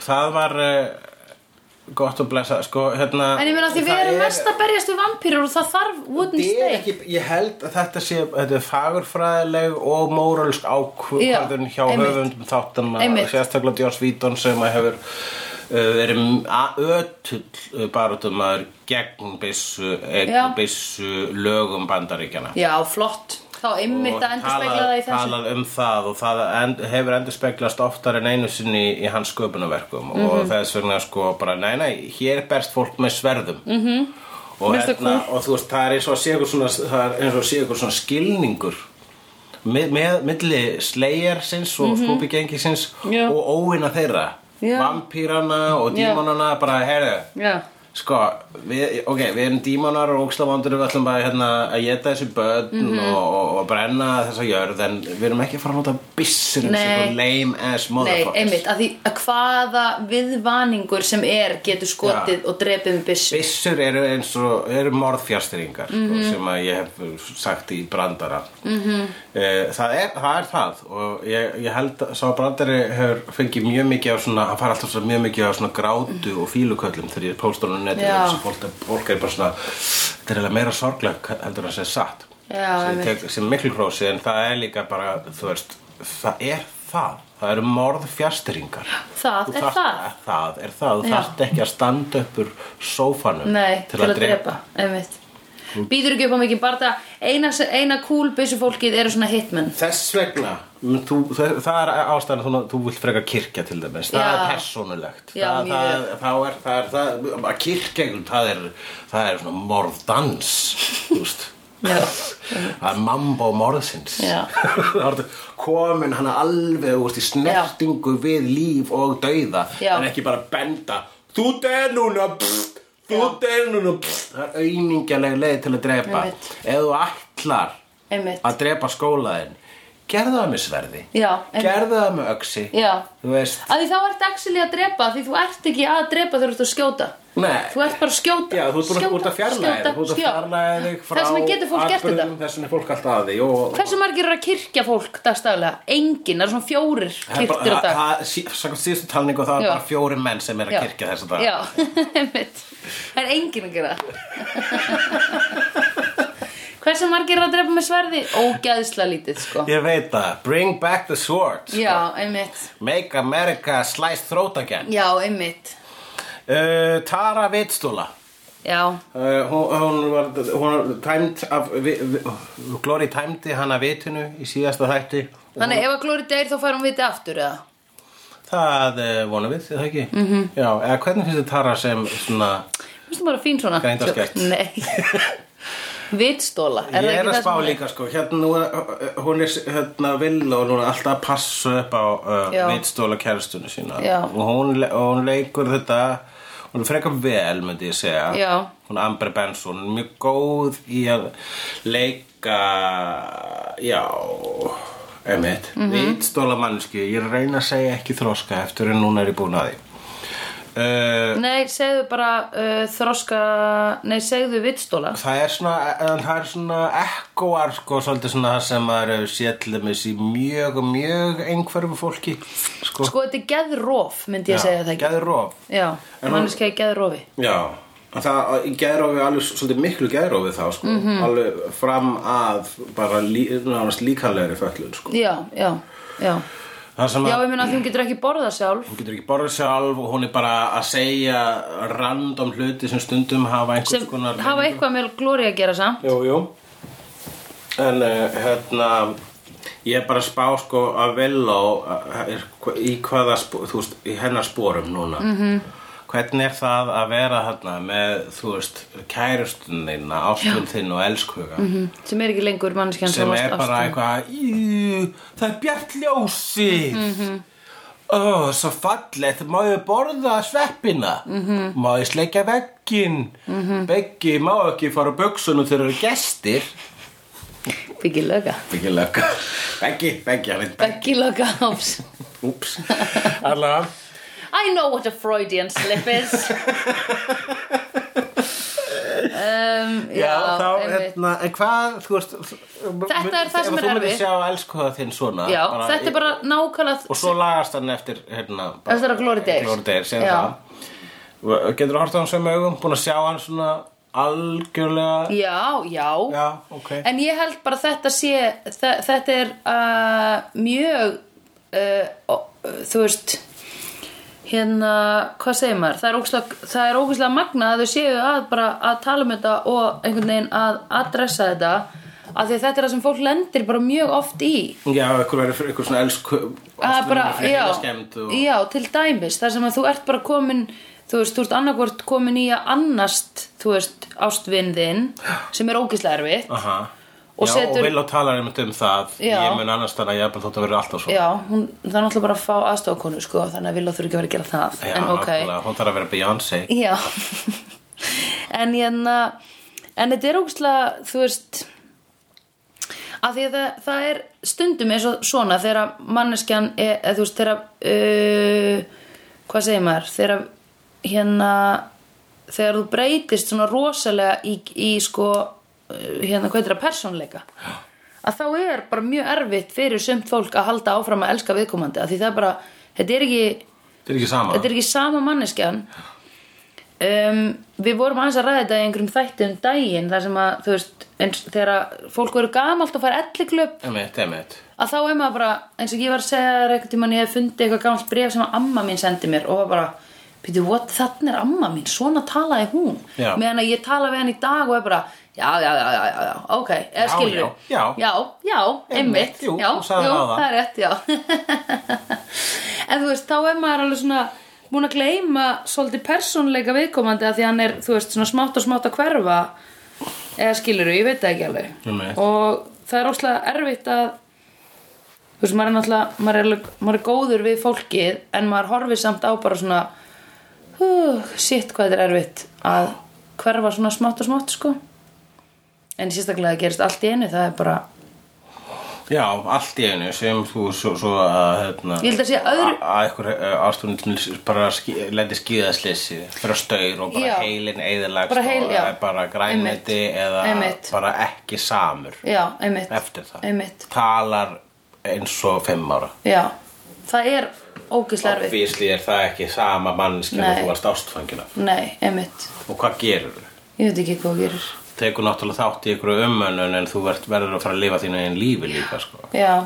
[SPEAKER 2] það var uh, gott að blessa, sko, hérna.
[SPEAKER 3] En ég meina því við
[SPEAKER 2] það
[SPEAKER 3] erum
[SPEAKER 2] er-
[SPEAKER 3] mest að berjast við vampýrur og það þarf wooden
[SPEAKER 2] Þetta er
[SPEAKER 3] stake
[SPEAKER 2] ekki, ég held að þetta sé þetta er fagurfræðileg og móralsk ákvörðun
[SPEAKER 3] Já,
[SPEAKER 2] hjá
[SPEAKER 3] einmitt.
[SPEAKER 2] höfundum þáttanna
[SPEAKER 3] Einmitt.
[SPEAKER 2] sérstaklega Joss Víton sem að hefur uh, verið a- ötull barutumar gegn byssu,
[SPEAKER 3] Já.
[SPEAKER 2] gegn byssu lögum bandaríkjana
[SPEAKER 3] Já, flott, þá einmitt að endur spekla það í þessu
[SPEAKER 2] talað um það og það end, hefur endur speklast oftar en einu sinni í hans sköpunarverkum
[SPEAKER 3] Mhm.
[SPEAKER 2] og þess vegna sko bara, nei, nei, hér berst fólk með sverðum
[SPEAKER 3] Mhm.
[SPEAKER 2] -hmm. og,
[SPEAKER 3] Mér finnst það
[SPEAKER 2] hérna, og þú veist, það er eins og að sé ykkur svona, það er eins og að sé ykkur svona skilningur með, með, milli slegjarsins og mm -hmm. skúpigengisins
[SPEAKER 3] Mhm. Já.
[SPEAKER 2] og óvinna þeirra
[SPEAKER 3] Já.
[SPEAKER 2] vampírana og
[SPEAKER 3] Já.
[SPEAKER 2] dímonana bara, heyrðu,
[SPEAKER 3] Já,
[SPEAKER 2] Sko, við, ok, við erum dímonar og ógslavandur við ætlum bara hérna, að geta þessi börn
[SPEAKER 3] Mhm.
[SPEAKER 2] og, og, og brenna þessa jörð en við erum ekki að fara að nota byssur um
[SPEAKER 3] Nei.
[SPEAKER 2] þessu lame ass
[SPEAKER 3] nei,
[SPEAKER 2] motherfuckers
[SPEAKER 3] einmitt að því að hvaða viðvaningur sem er getur skotið og drepið með byssu
[SPEAKER 2] Byssur eru eins og eru morðfjastringar
[SPEAKER 3] Mhm.
[SPEAKER 2] sko, sem að ég hef sagt í brandara -hmm. það, er, það er það og ég, ég held að sá að brandari hefur fengið mjög mikið af svona hann fær alltaf svo mjög mikið af svona grátu og fíluköllum þegar ég póstur á netinu
[SPEAKER 3] Já.
[SPEAKER 2] þess að fólk, fólk er bara svona þetta er eiginlega meira sorgleg heldur en að segja satt
[SPEAKER 3] Já,
[SPEAKER 2] sem,
[SPEAKER 3] einmitt.
[SPEAKER 2] tek, sem miklu hrósi en það er líka bara þú veist, það er það það eru morðfjastringar
[SPEAKER 3] Það
[SPEAKER 2] Þú
[SPEAKER 3] er
[SPEAKER 2] þarft- eh,
[SPEAKER 3] það.
[SPEAKER 2] það er það, þú
[SPEAKER 3] Já.
[SPEAKER 2] þarft ekki að standa uppur sófanum
[SPEAKER 3] Nei, til, að, drepa, einmitt Býður ekki upp á mikið barða Eina, eina cool byssufólkið eru svona hitmen
[SPEAKER 2] Þess vegna mm, þú, það, það er ástæðan þú, þú vilt frekar kirkja til dæmis
[SPEAKER 3] Já.
[SPEAKER 2] það er persónulegt
[SPEAKER 3] Já,
[SPEAKER 2] það,
[SPEAKER 3] mjög.
[SPEAKER 2] það, það er, það er, það, að kirkja einhvern, það er, það er svona morðdans þú veist
[SPEAKER 3] Já.
[SPEAKER 2] það er mambo morðsins
[SPEAKER 3] Já.
[SPEAKER 2] Það ertu komin hana alveg úr í snertingu við líf og dauða
[SPEAKER 3] Já.
[SPEAKER 2] en ekki bara benda þú deyr núna pst, þú
[SPEAKER 3] Já.
[SPEAKER 2] deyr núna pst. það er aumingjaleg leið til að drepa
[SPEAKER 3] Einmitt.
[SPEAKER 2] ef þú ætlar
[SPEAKER 3] Einmitt
[SPEAKER 2] að drepa skólaðin gerðu það með sverði
[SPEAKER 3] Já, einmitt.
[SPEAKER 2] gerðu það með öksi
[SPEAKER 3] Já.
[SPEAKER 2] þú veist
[SPEAKER 3] Af því þá ertu actually að drepa Því þú ert ekki að drepa þegar þú ert að skjóta
[SPEAKER 2] Nei,
[SPEAKER 3] Þú ert bara að skjóta
[SPEAKER 2] já, þú ert búin að- þú ert að fjarlæða þig, þú ert að
[SPEAKER 3] skjóta.
[SPEAKER 2] fjarlæða þig frá
[SPEAKER 3] Þess vegna getur fólk gert
[SPEAKER 2] atburðum,
[SPEAKER 3] þetta.
[SPEAKER 2] Þess vegna er fólk alltaf að því og
[SPEAKER 3] Hversu margir eru að kirkja fólk dagstæðlega? Engin, það eru svona fjórir
[SPEAKER 2] Það er bara-
[SPEAKER 3] kirktir á dag
[SPEAKER 2] það- það- sí- Samkvæmt síðustu talningu þá er
[SPEAKER 3] Já.
[SPEAKER 2] bara fjóri menn sem er að kirkja þess að
[SPEAKER 3] Já, einmitt Það er engin að gera það. Hversu margir eru að drepa með sverði? Ógæðsla lítið, sko
[SPEAKER 2] Ég veit það, bring back the sword
[SPEAKER 3] Já, einmitt
[SPEAKER 2] Make America slice throat again
[SPEAKER 3] Já, einmitt
[SPEAKER 2] uh, Tara Vitstúla
[SPEAKER 3] Já,
[SPEAKER 2] uh, hún, hún var, hún var tæmd af, vi, vi, oh, Glory tæmdi hana vitinu í síðasta þætti
[SPEAKER 3] þannig ef að Glory deyr þá fær hún viti aftur eða
[SPEAKER 2] Það uh, vonum við, er það ekki? Mm
[SPEAKER 3] Mhm.
[SPEAKER 2] -hmm. Já, eða hvernig finnst þið Tara sem svona
[SPEAKER 3] Vistu bara fín svona
[SPEAKER 2] Greindarskert.
[SPEAKER 3] Nei Vitstóla
[SPEAKER 2] Ég
[SPEAKER 3] það
[SPEAKER 2] er
[SPEAKER 3] ekki
[SPEAKER 2] að
[SPEAKER 3] það
[SPEAKER 2] spá
[SPEAKER 3] sem hún
[SPEAKER 2] líka sko, hérna nú er- uh, hún er hérna vill og hún er alltaf að passa upp á
[SPEAKER 3] Já.
[SPEAKER 2] uh, vitstóla kæristunni sína
[SPEAKER 3] Já.
[SPEAKER 2] og hún, le- og hún leikur þetta hún er frekar vel myndi ég segja
[SPEAKER 3] Já.
[SPEAKER 2] hún Amber Benson, hún er mjög góð í að leika já emitt,
[SPEAKER 3] Mhm.
[SPEAKER 2] mm -hmm. vitstóla manneski ég er að reyna að segja ekki þroska eftir en núna er ég búin að því Uh,
[SPEAKER 3] Nei, segðu bara uh, þroska Nei, segðu vitstóla
[SPEAKER 2] Það er svona, en það er svona ekkoar sko, svolítið svona það sem maður hefur séð til dæmis í mjög, mjög einhverfu fólki, sko.
[SPEAKER 3] Sko, þetta er geðróf, myndi ég
[SPEAKER 2] Já,
[SPEAKER 3] segja það ekki
[SPEAKER 2] geðrof.
[SPEAKER 3] Já,
[SPEAKER 2] En hún-
[SPEAKER 3] manneskja er geðrófi
[SPEAKER 2] Já, en það geðrofi er alveg svolítið miklu geðrofi þá, sko,
[SPEAKER 3] Mhm.
[SPEAKER 2] alveg fram að bara lí, nánast líkanlegri föllun, sko.
[SPEAKER 3] Já, já, já
[SPEAKER 2] Það sem
[SPEAKER 3] Já,
[SPEAKER 2] að
[SPEAKER 3] ég meina að þú getur ekki borðað sjálf
[SPEAKER 2] hún getur ekki borðið sjálf og hún er bara að segja random hluti sem stundum hafa einhvers
[SPEAKER 3] sem
[SPEAKER 2] konar...
[SPEAKER 3] hafa eitthvað með Glory að gera samt
[SPEAKER 2] Jú, jú En uh, hérna Ég er bara að spá sko að vilja í hvaða spó- þú veist, í hennar spórum núna -hmm.
[SPEAKER 3] Mhm.
[SPEAKER 2] Hvernig er það að vera þarna með, þú veist, kærustun þinna, ástun þinn og elskuga
[SPEAKER 3] Mhm, sem er ekki lengur manneskjan
[SPEAKER 2] sem
[SPEAKER 3] varst
[SPEAKER 2] er bara
[SPEAKER 3] ástin.
[SPEAKER 2] eitthvað "Jú, það er bjart ljósið mm
[SPEAKER 3] Mhm.
[SPEAKER 2] ó, svo fallegt má ég borða sveppina -hmm.
[SPEAKER 3] Mhm.
[SPEAKER 2] má ég sleikja veggin mm -hmm. beggi má ekki fara á buksunum þegar eru gestir
[SPEAKER 3] Biggi löga
[SPEAKER 2] Beggi lögga Beggi, Beggi, hann er Beggi
[SPEAKER 3] Biggi löga áps
[SPEAKER 2] Úps Alla
[SPEAKER 3] I know what a Freudian slip is um, Já,
[SPEAKER 2] Já, þá,
[SPEAKER 3] einmitt.
[SPEAKER 2] hérna, en hvað, þú veist
[SPEAKER 3] Þetta er það sem er
[SPEAKER 2] erfið Þú myndir
[SPEAKER 3] erfitt.
[SPEAKER 2] sjá elsku það þinn svona
[SPEAKER 3] já þetta er bara nákvæmlega
[SPEAKER 2] Og svo lagast hann eftir, hérna bara-
[SPEAKER 3] Eftir að Glory Days.
[SPEAKER 2] Glory Days, segir
[SPEAKER 3] Já.
[SPEAKER 2] það Getur þú hort á hann sem augum, búin að sjá hann svona algjörlega
[SPEAKER 3] Já, já,
[SPEAKER 2] Já, ok
[SPEAKER 3] En ég held bara að þetta sé þe- þetta er uh, mjög uh, ó- þú veist hérna, hvað segir maður það er ógeðslega, það er ógeðslega magna að þau séu að bara að tala um þetta og einhvern veginn að adressa þetta af því að þetta er það sem fólk lendir bara mjög oft í
[SPEAKER 2] Já, ykkur verið fyrir ykkur svona elsku
[SPEAKER 3] Það er Ah, bara, já,
[SPEAKER 2] og...
[SPEAKER 3] já, til dæmis þar sem að þú ert bara komin þú veist, þú ert annarkvort komin í að annast þú veist, ástvinn þinn sem er ógeðslega erfitt
[SPEAKER 2] Aha
[SPEAKER 3] Og
[SPEAKER 2] já,
[SPEAKER 3] setur-
[SPEAKER 2] og vil á talar einmitt um það
[SPEAKER 3] Já.
[SPEAKER 2] Ég mun annars þannig að ég er bara þótt að vera alltaf svo
[SPEAKER 3] Já, hún, það er náttúrulega bara að fá aðstofakonu sko, þannig að Villó þurfi ekki að vera að gera það
[SPEAKER 2] Já,
[SPEAKER 3] en ok
[SPEAKER 2] nákvæmlega, hún þarf að vera Beyoncé
[SPEAKER 3] Já En hérna En þetta er ógustlega, þú veist að því að það, það er stundum eins og svona þegar manneskjan er, eða þú veist, þegar uh, hvað segir maður þegar hérna þegar þú breytist svona rosalega í, í sko uh, hérna, hvað er það, persónleika að þá er bara mjög erfitt fyrir sumt fólk að halda áfram að elska viðkomandi að því það er bara, þetta er ekki
[SPEAKER 2] Þetta er ekki sama
[SPEAKER 3] þetta er ekki sama manneskjan um, við vorum aðeins að ræða þetta í einhverjum þætti um daginn þar sem að þú veist eins, þegar að fólk verður gamalt og fær elliklöp
[SPEAKER 2] Emmett, Emmett
[SPEAKER 3] að þá er maður bara eins og ég var að segja þér einhvern tímann ég hef fundið eitthvað gamalt bref sem að amma mín sendi mér og var bara Pítu, what, þannig er amma mín, svona talaði hún
[SPEAKER 2] Já.
[SPEAKER 3] meðan að ég tala við hann í dag og er bara, já, já, já, já, já, já ok, eða
[SPEAKER 2] Já,
[SPEAKER 3] skilur
[SPEAKER 2] já, já.
[SPEAKER 3] já, já, einmitt,
[SPEAKER 2] Einmitt, jú,
[SPEAKER 3] já,
[SPEAKER 2] þú sagðir áðan.
[SPEAKER 3] það er rétt, já en þú veist, þá er maður alveg svona búin að gleyma svolítið persónleika viðkomandi að því hann er, þú veist, svona smátt og smátt að hverfa eða skilur ég veit það ekki alveg
[SPEAKER 2] Einmitt.
[SPEAKER 3] og það er óslega erfitt að þú veist, maður er náttúrulega maður er, alveg- maður er góður við fólkið en maður horfir samt á bara svona hú, shit hvað þetta er erfitt að hverfa svona smátt og smátt sko en sérstaklega það gerist allt í einu það er bara
[SPEAKER 2] Já, allt í einu sem þú svo, svo að hérna,
[SPEAKER 3] Ég held að sé öðru-
[SPEAKER 2] að- að einhver eh, ástofnir bara skí- lendi skíðaslissi fyrir staur og bara
[SPEAKER 3] Já.
[SPEAKER 2] heilin eðilagst
[SPEAKER 3] Bara heil-
[SPEAKER 2] og
[SPEAKER 3] já.
[SPEAKER 2] eh, bara grænmeti eða
[SPEAKER 3] Einmitt.
[SPEAKER 2] bara ekki samur
[SPEAKER 3] já, einmitt
[SPEAKER 2] eftir það
[SPEAKER 3] einmitt,
[SPEAKER 2] talar eins og fimm ára
[SPEAKER 3] já, það er ógislega erfitt
[SPEAKER 2] Obvísli er það ekki sama mannskjum
[SPEAKER 3] Nei.
[SPEAKER 2] og þú varst ástfangina
[SPEAKER 3] nei, einmitt,
[SPEAKER 2] og hvað gerur þú?
[SPEAKER 3] ég veit ekki hvað þú gerir
[SPEAKER 2] tekur náttúrulega þátt í ykkur umönnun en þú verð, verður að fara að lifa þínu einn lífi líka sko.
[SPEAKER 3] Já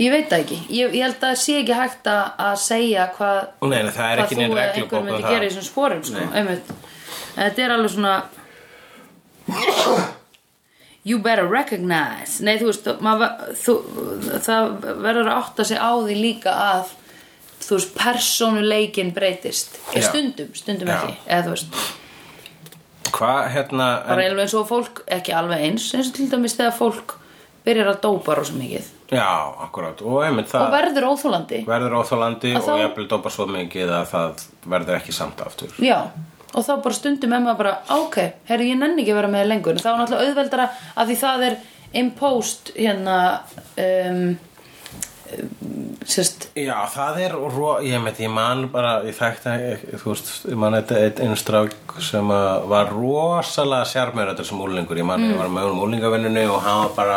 [SPEAKER 3] Ég veit það ekki Ég, ég held að það sé ekki hægt að, að segja hvað
[SPEAKER 2] Nei, nei, það er
[SPEAKER 3] hvað
[SPEAKER 2] ekki
[SPEAKER 3] þú
[SPEAKER 2] neinn
[SPEAKER 3] eða
[SPEAKER 2] reglubók
[SPEAKER 3] einhver
[SPEAKER 2] um
[SPEAKER 3] myndi
[SPEAKER 2] það.
[SPEAKER 3] gera í þessum sporum sko,
[SPEAKER 2] Nei.
[SPEAKER 3] einmitt En Þetta er alveg svona You better recognize Nei, þú veist, maður, þú, það verður að átta sig á því líka að þú veist, persónuleikin breytist
[SPEAKER 2] Já.
[SPEAKER 3] stundum, stundum
[SPEAKER 2] Já.
[SPEAKER 3] ekki eða þú veist,
[SPEAKER 2] hvað hérna
[SPEAKER 3] bara alveg eins og fólk ekki alveg eins, eins og til dæmis þegar fólk byrjar að dópa rosa mikið
[SPEAKER 2] Já, akkurát, og einmitt
[SPEAKER 3] og
[SPEAKER 2] það
[SPEAKER 3] verður óþólandi
[SPEAKER 2] verður óþólandi
[SPEAKER 3] Að
[SPEAKER 2] og
[SPEAKER 3] þá-
[SPEAKER 2] jafnvel dópa svo mikið að það verður ekki samt aftur
[SPEAKER 3] Já, og þá bara stundum er maður bara, ok, herri, ég nenni ekki að vera með þér lengur. Þá er náttúrulega auðveldara að því það er impost hérna, um, um, sérst,
[SPEAKER 2] Já, það er, ro... ég meit, ég man bara, ég þekkti, ég- þú veist, ég man þetta einn einn strák sem að var rosalega sjarmur þetta sem úlingur, ég man, ég var með um úlingavinninu og hann var bara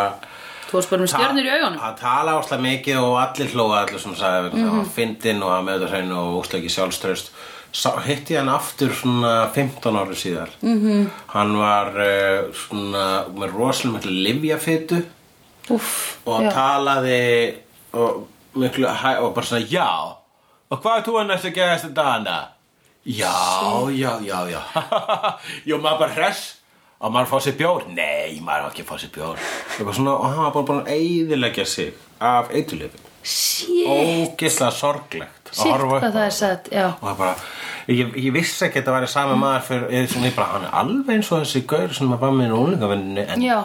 [SPEAKER 3] þú varst bara með stjörnur í augunum. Mhm.
[SPEAKER 2] Hann tala áslega mikið og allir hlóa allir sem sagði, mm hann var fyndinn og hann með þetta hreinu og úslega ekki sjálfströst Sá, hitti ég hann aftur svona 15 ári síðar -hmm.
[SPEAKER 3] Mhm.
[SPEAKER 2] hann var uh, svona með rosalega miklu livjafytu
[SPEAKER 3] Úff,
[SPEAKER 2] og
[SPEAKER 3] já,
[SPEAKER 2] talaði og miklu hæ og bara svona já og hvað er þú að næstu að gera þetta dana? Já, já, já, já Jú, maður bara hress og maður fá sér bjór Nei, maður á ekki að fá sér bjór Eitthvað svona, og hann var bara búin að eyðileggja sig af eiturlifin
[SPEAKER 3] shit,
[SPEAKER 2] Ógislega sorglegt að
[SPEAKER 3] shit,
[SPEAKER 2] horfa upp
[SPEAKER 3] hvað
[SPEAKER 2] á
[SPEAKER 3] það er
[SPEAKER 2] þetta.
[SPEAKER 3] sett, já.
[SPEAKER 2] og það bara Ég, ég vissi ekki að þetta væri sami maður fyrir, ég, svona, ég bara, hann er alveg eins og þessi gaur sem að var með í úlingavinninni en
[SPEAKER 3] Já,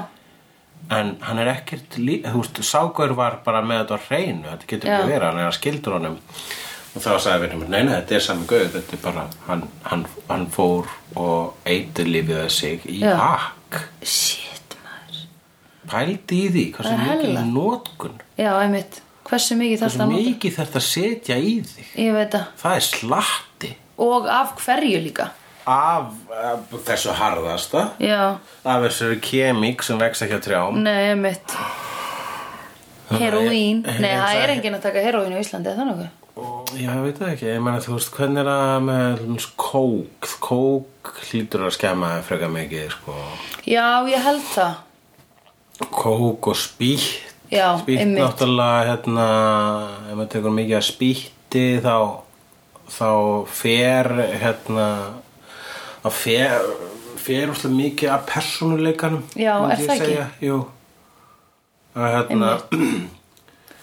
[SPEAKER 2] en hann er ekkert lí... þú veist, Ságur var bara með þetta á hreinu þetta getur
[SPEAKER 3] Já.
[SPEAKER 2] ekki verið, hann er að skildur honum og þá sagði við hann, nei, nei, þetta er sami gauð þetta er bara, hann, hann, hann fór og eitur lífið sig í
[SPEAKER 3] Já.
[SPEAKER 2] hakk
[SPEAKER 3] shit, maður.
[SPEAKER 2] pældi í því, hvað sem
[SPEAKER 3] Það er
[SPEAKER 2] mikil
[SPEAKER 3] hella.
[SPEAKER 2] notkun
[SPEAKER 3] Já, einmitt, hversu mikið þarf
[SPEAKER 2] hvað
[SPEAKER 3] það
[SPEAKER 2] sem
[SPEAKER 3] að nota?
[SPEAKER 2] mikið þarf að setja í þig
[SPEAKER 3] Ég veit það.
[SPEAKER 2] það er slatti
[SPEAKER 3] Og af hverju líka?
[SPEAKER 2] af, af þessu harðasta
[SPEAKER 3] Já,
[SPEAKER 2] af þessu kemík sem vex ekki á trjám
[SPEAKER 3] nei, einmitt. Heroín,
[SPEAKER 2] Nei,
[SPEAKER 3] nei, það
[SPEAKER 2] það-
[SPEAKER 3] er enginn að taka heroín á Íslandi, er það nokkuð?
[SPEAKER 2] Já, ég veit það ekki, ég meina þú veist hvernig er það með hans, kók kók hlýtur að skemma þér frekar mikið sko.
[SPEAKER 3] Já, ég held það
[SPEAKER 2] kók og spýtt
[SPEAKER 3] Já,
[SPEAKER 2] spýtt
[SPEAKER 3] einmitt.
[SPEAKER 2] náttúrulega hérna, ef maður tekur mikið að spýtti þá, þá fer hérna þá fer fer úrslega mikið af persónuleikanum
[SPEAKER 3] Já, er
[SPEAKER 2] myndi ég
[SPEAKER 3] það ekki?
[SPEAKER 2] segja, Jú að hérna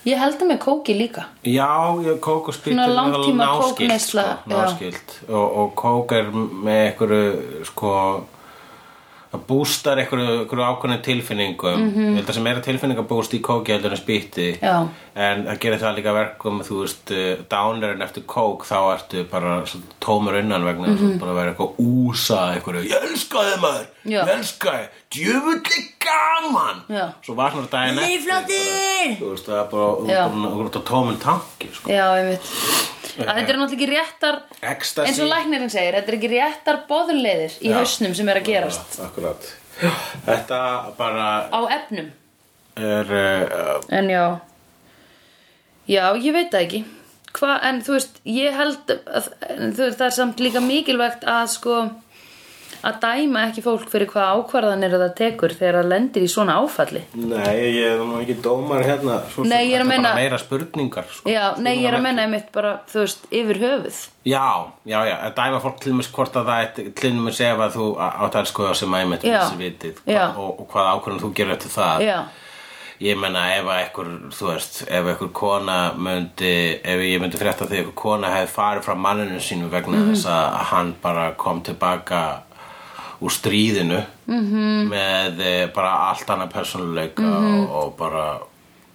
[SPEAKER 3] Ég held það með kóki líka
[SPEAKER 2] Já, ég- kók og spýtt
[SPEAKER 3] Svona
[SPEAKER 2] er
[SPEAKER 3] langtíma
[SPEAKER 2] náskylt,
[SPEAKER 3] kókneysla,
[SPEAKER 2] sko,
[SPEAKER 3] já.
[SPEAKER 2] náskylt. Og, og kók er með einhverju sko að bústar einhverju, einhverju ákveðnum tilfinningum ég held að sem meira tilfinningabúst í kóki heldur en spýtti
[SPEAKER 3] Mhm. Já.
[SPEAKER 2] en það gerir það líka verkum þú veist, eh, downerinn eftir kók þá ertu bara svolítið tómur innan vegna mm
[SPEAKER 3] Mhm.
[SPEAKER 2] -hmm. bara að vera eitthvað úsa einhverju, ég elska þið maður,
[SPEAKER 3] Já.
[SPEAKER 2] ég elska þið djöfulli gaman
[SPEAKER 3] Já.
[SPEAKER 2] svo vaknar daginn eftir bara, þú veist, það er bara, þú
[SPEAKER 3] Já.
[SPEAKER 2] ert búin að- þú ert á tómum tanki sko.
[SPEAKER 3] Já, einmitt Að þetta er náttúrulega ekki réttar
[SPEAKER 2] Ecstasy.
[SPEAKER 3] eins og læknirinn segir, þetta er ekki réttar boðleiðir í
[SPEAKER 2] Já.
[SPEAKER 3] hausnum sem er að gerast
[SPEAKER 2] Ja, akkurat. Þetta bara
[SPEAKER 3] á efnum
[SPEAKER 2] er uh,
[SPEAKER 3] En já Já, ég veit það ekki Hva, En þú veist, ég held að, en þú veist, það er samt líka mikilvægt að sko að dæma ekki fólk fyrir hvað ákvarðanir það tekur þegar það lendir í svona áfalli
[SPEAKER 2] Nei, ég er nú ekki dómar hérna svo, sem.
[SPEAKER 3] Nei, ég er að
[SPEAKER 2] Þetta
[SPEAKER 3] meina-
[SPEAKER 2] bara meira spurningar sko.
[SPEAKER 3] Já, nei, ég er að menna einmitt bara, þú veist, yfir höfuð
[SPEAKER 2] Já, já, já, að dæma fólk til mér hvort að það er til mér ef að þú átt að skoða sem að einmitt
[SPEAKER 3] Já.
[SPEAKER 2] vissi vitið
[SPEAKER 3] Já.
[SPEAKER 2] og, og hvað ákvörðum þú gerir eftir það
[SPEAKER 3] Já,
[SPEAKER 2] Ég menna ef að einhver, þú veist, ef einhver kona myndi, ef ég myndi frétta því að einhver kona hefði farið frá manninu sínum vegna
[SPEAKER 3] Mhm.
[SPEAKER 2] þess að hann bara kom tilbaka úr stríðinu -hmm.
[SPEAKER 3] Mhm.
[SPEAKER 2] með eh, bara allt annað persónuleika og, og bara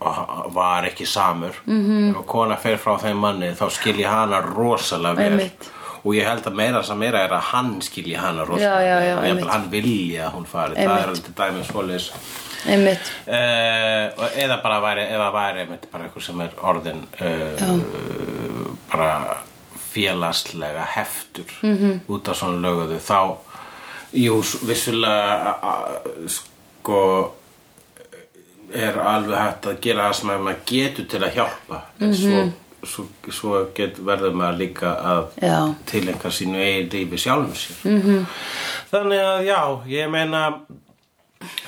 [SPEAKER 2] og var ekki samur
[SPEAKER 3] Mhm.
[SPEAKER 2] -hmm. ef að kona fer frá þeim manni þá skilji hana rosalega vel
[SPEAKER 3] Einmitt.
[SPEAKER 2] og ég held að meira sem meira er að hann skilji hana rosalega
[SPEAKER 3] Já, já, já,
[SPEAKER 2] vel og jafnvel
[SPEAKER 3] einmitt.
[SPEAKER 2] hann vilja að hún fari, það er
[SPEAKER 3] Einmitt.
[SPEAKER 2] alveg dæmið svoleiðis
[SPEAKER 3] einmitt
[SPEAKER 2] Eh, og eða bara væri, eða væri einmitt bara eitthvað sem er orðin uh, bara félagslega heftur -hmm. út af svona löguðu þá, jú, s- vissulega a- a- sko er alveg hægt að gera það sem að maður getur til að hjálpa en svo, svo, svo get, verður maður líka að
[SPEAKER 3] Já.
[SPEAKER 2] tilengja sínu eigin lífi sjálfum sér -hmm. þannig að já, ég meina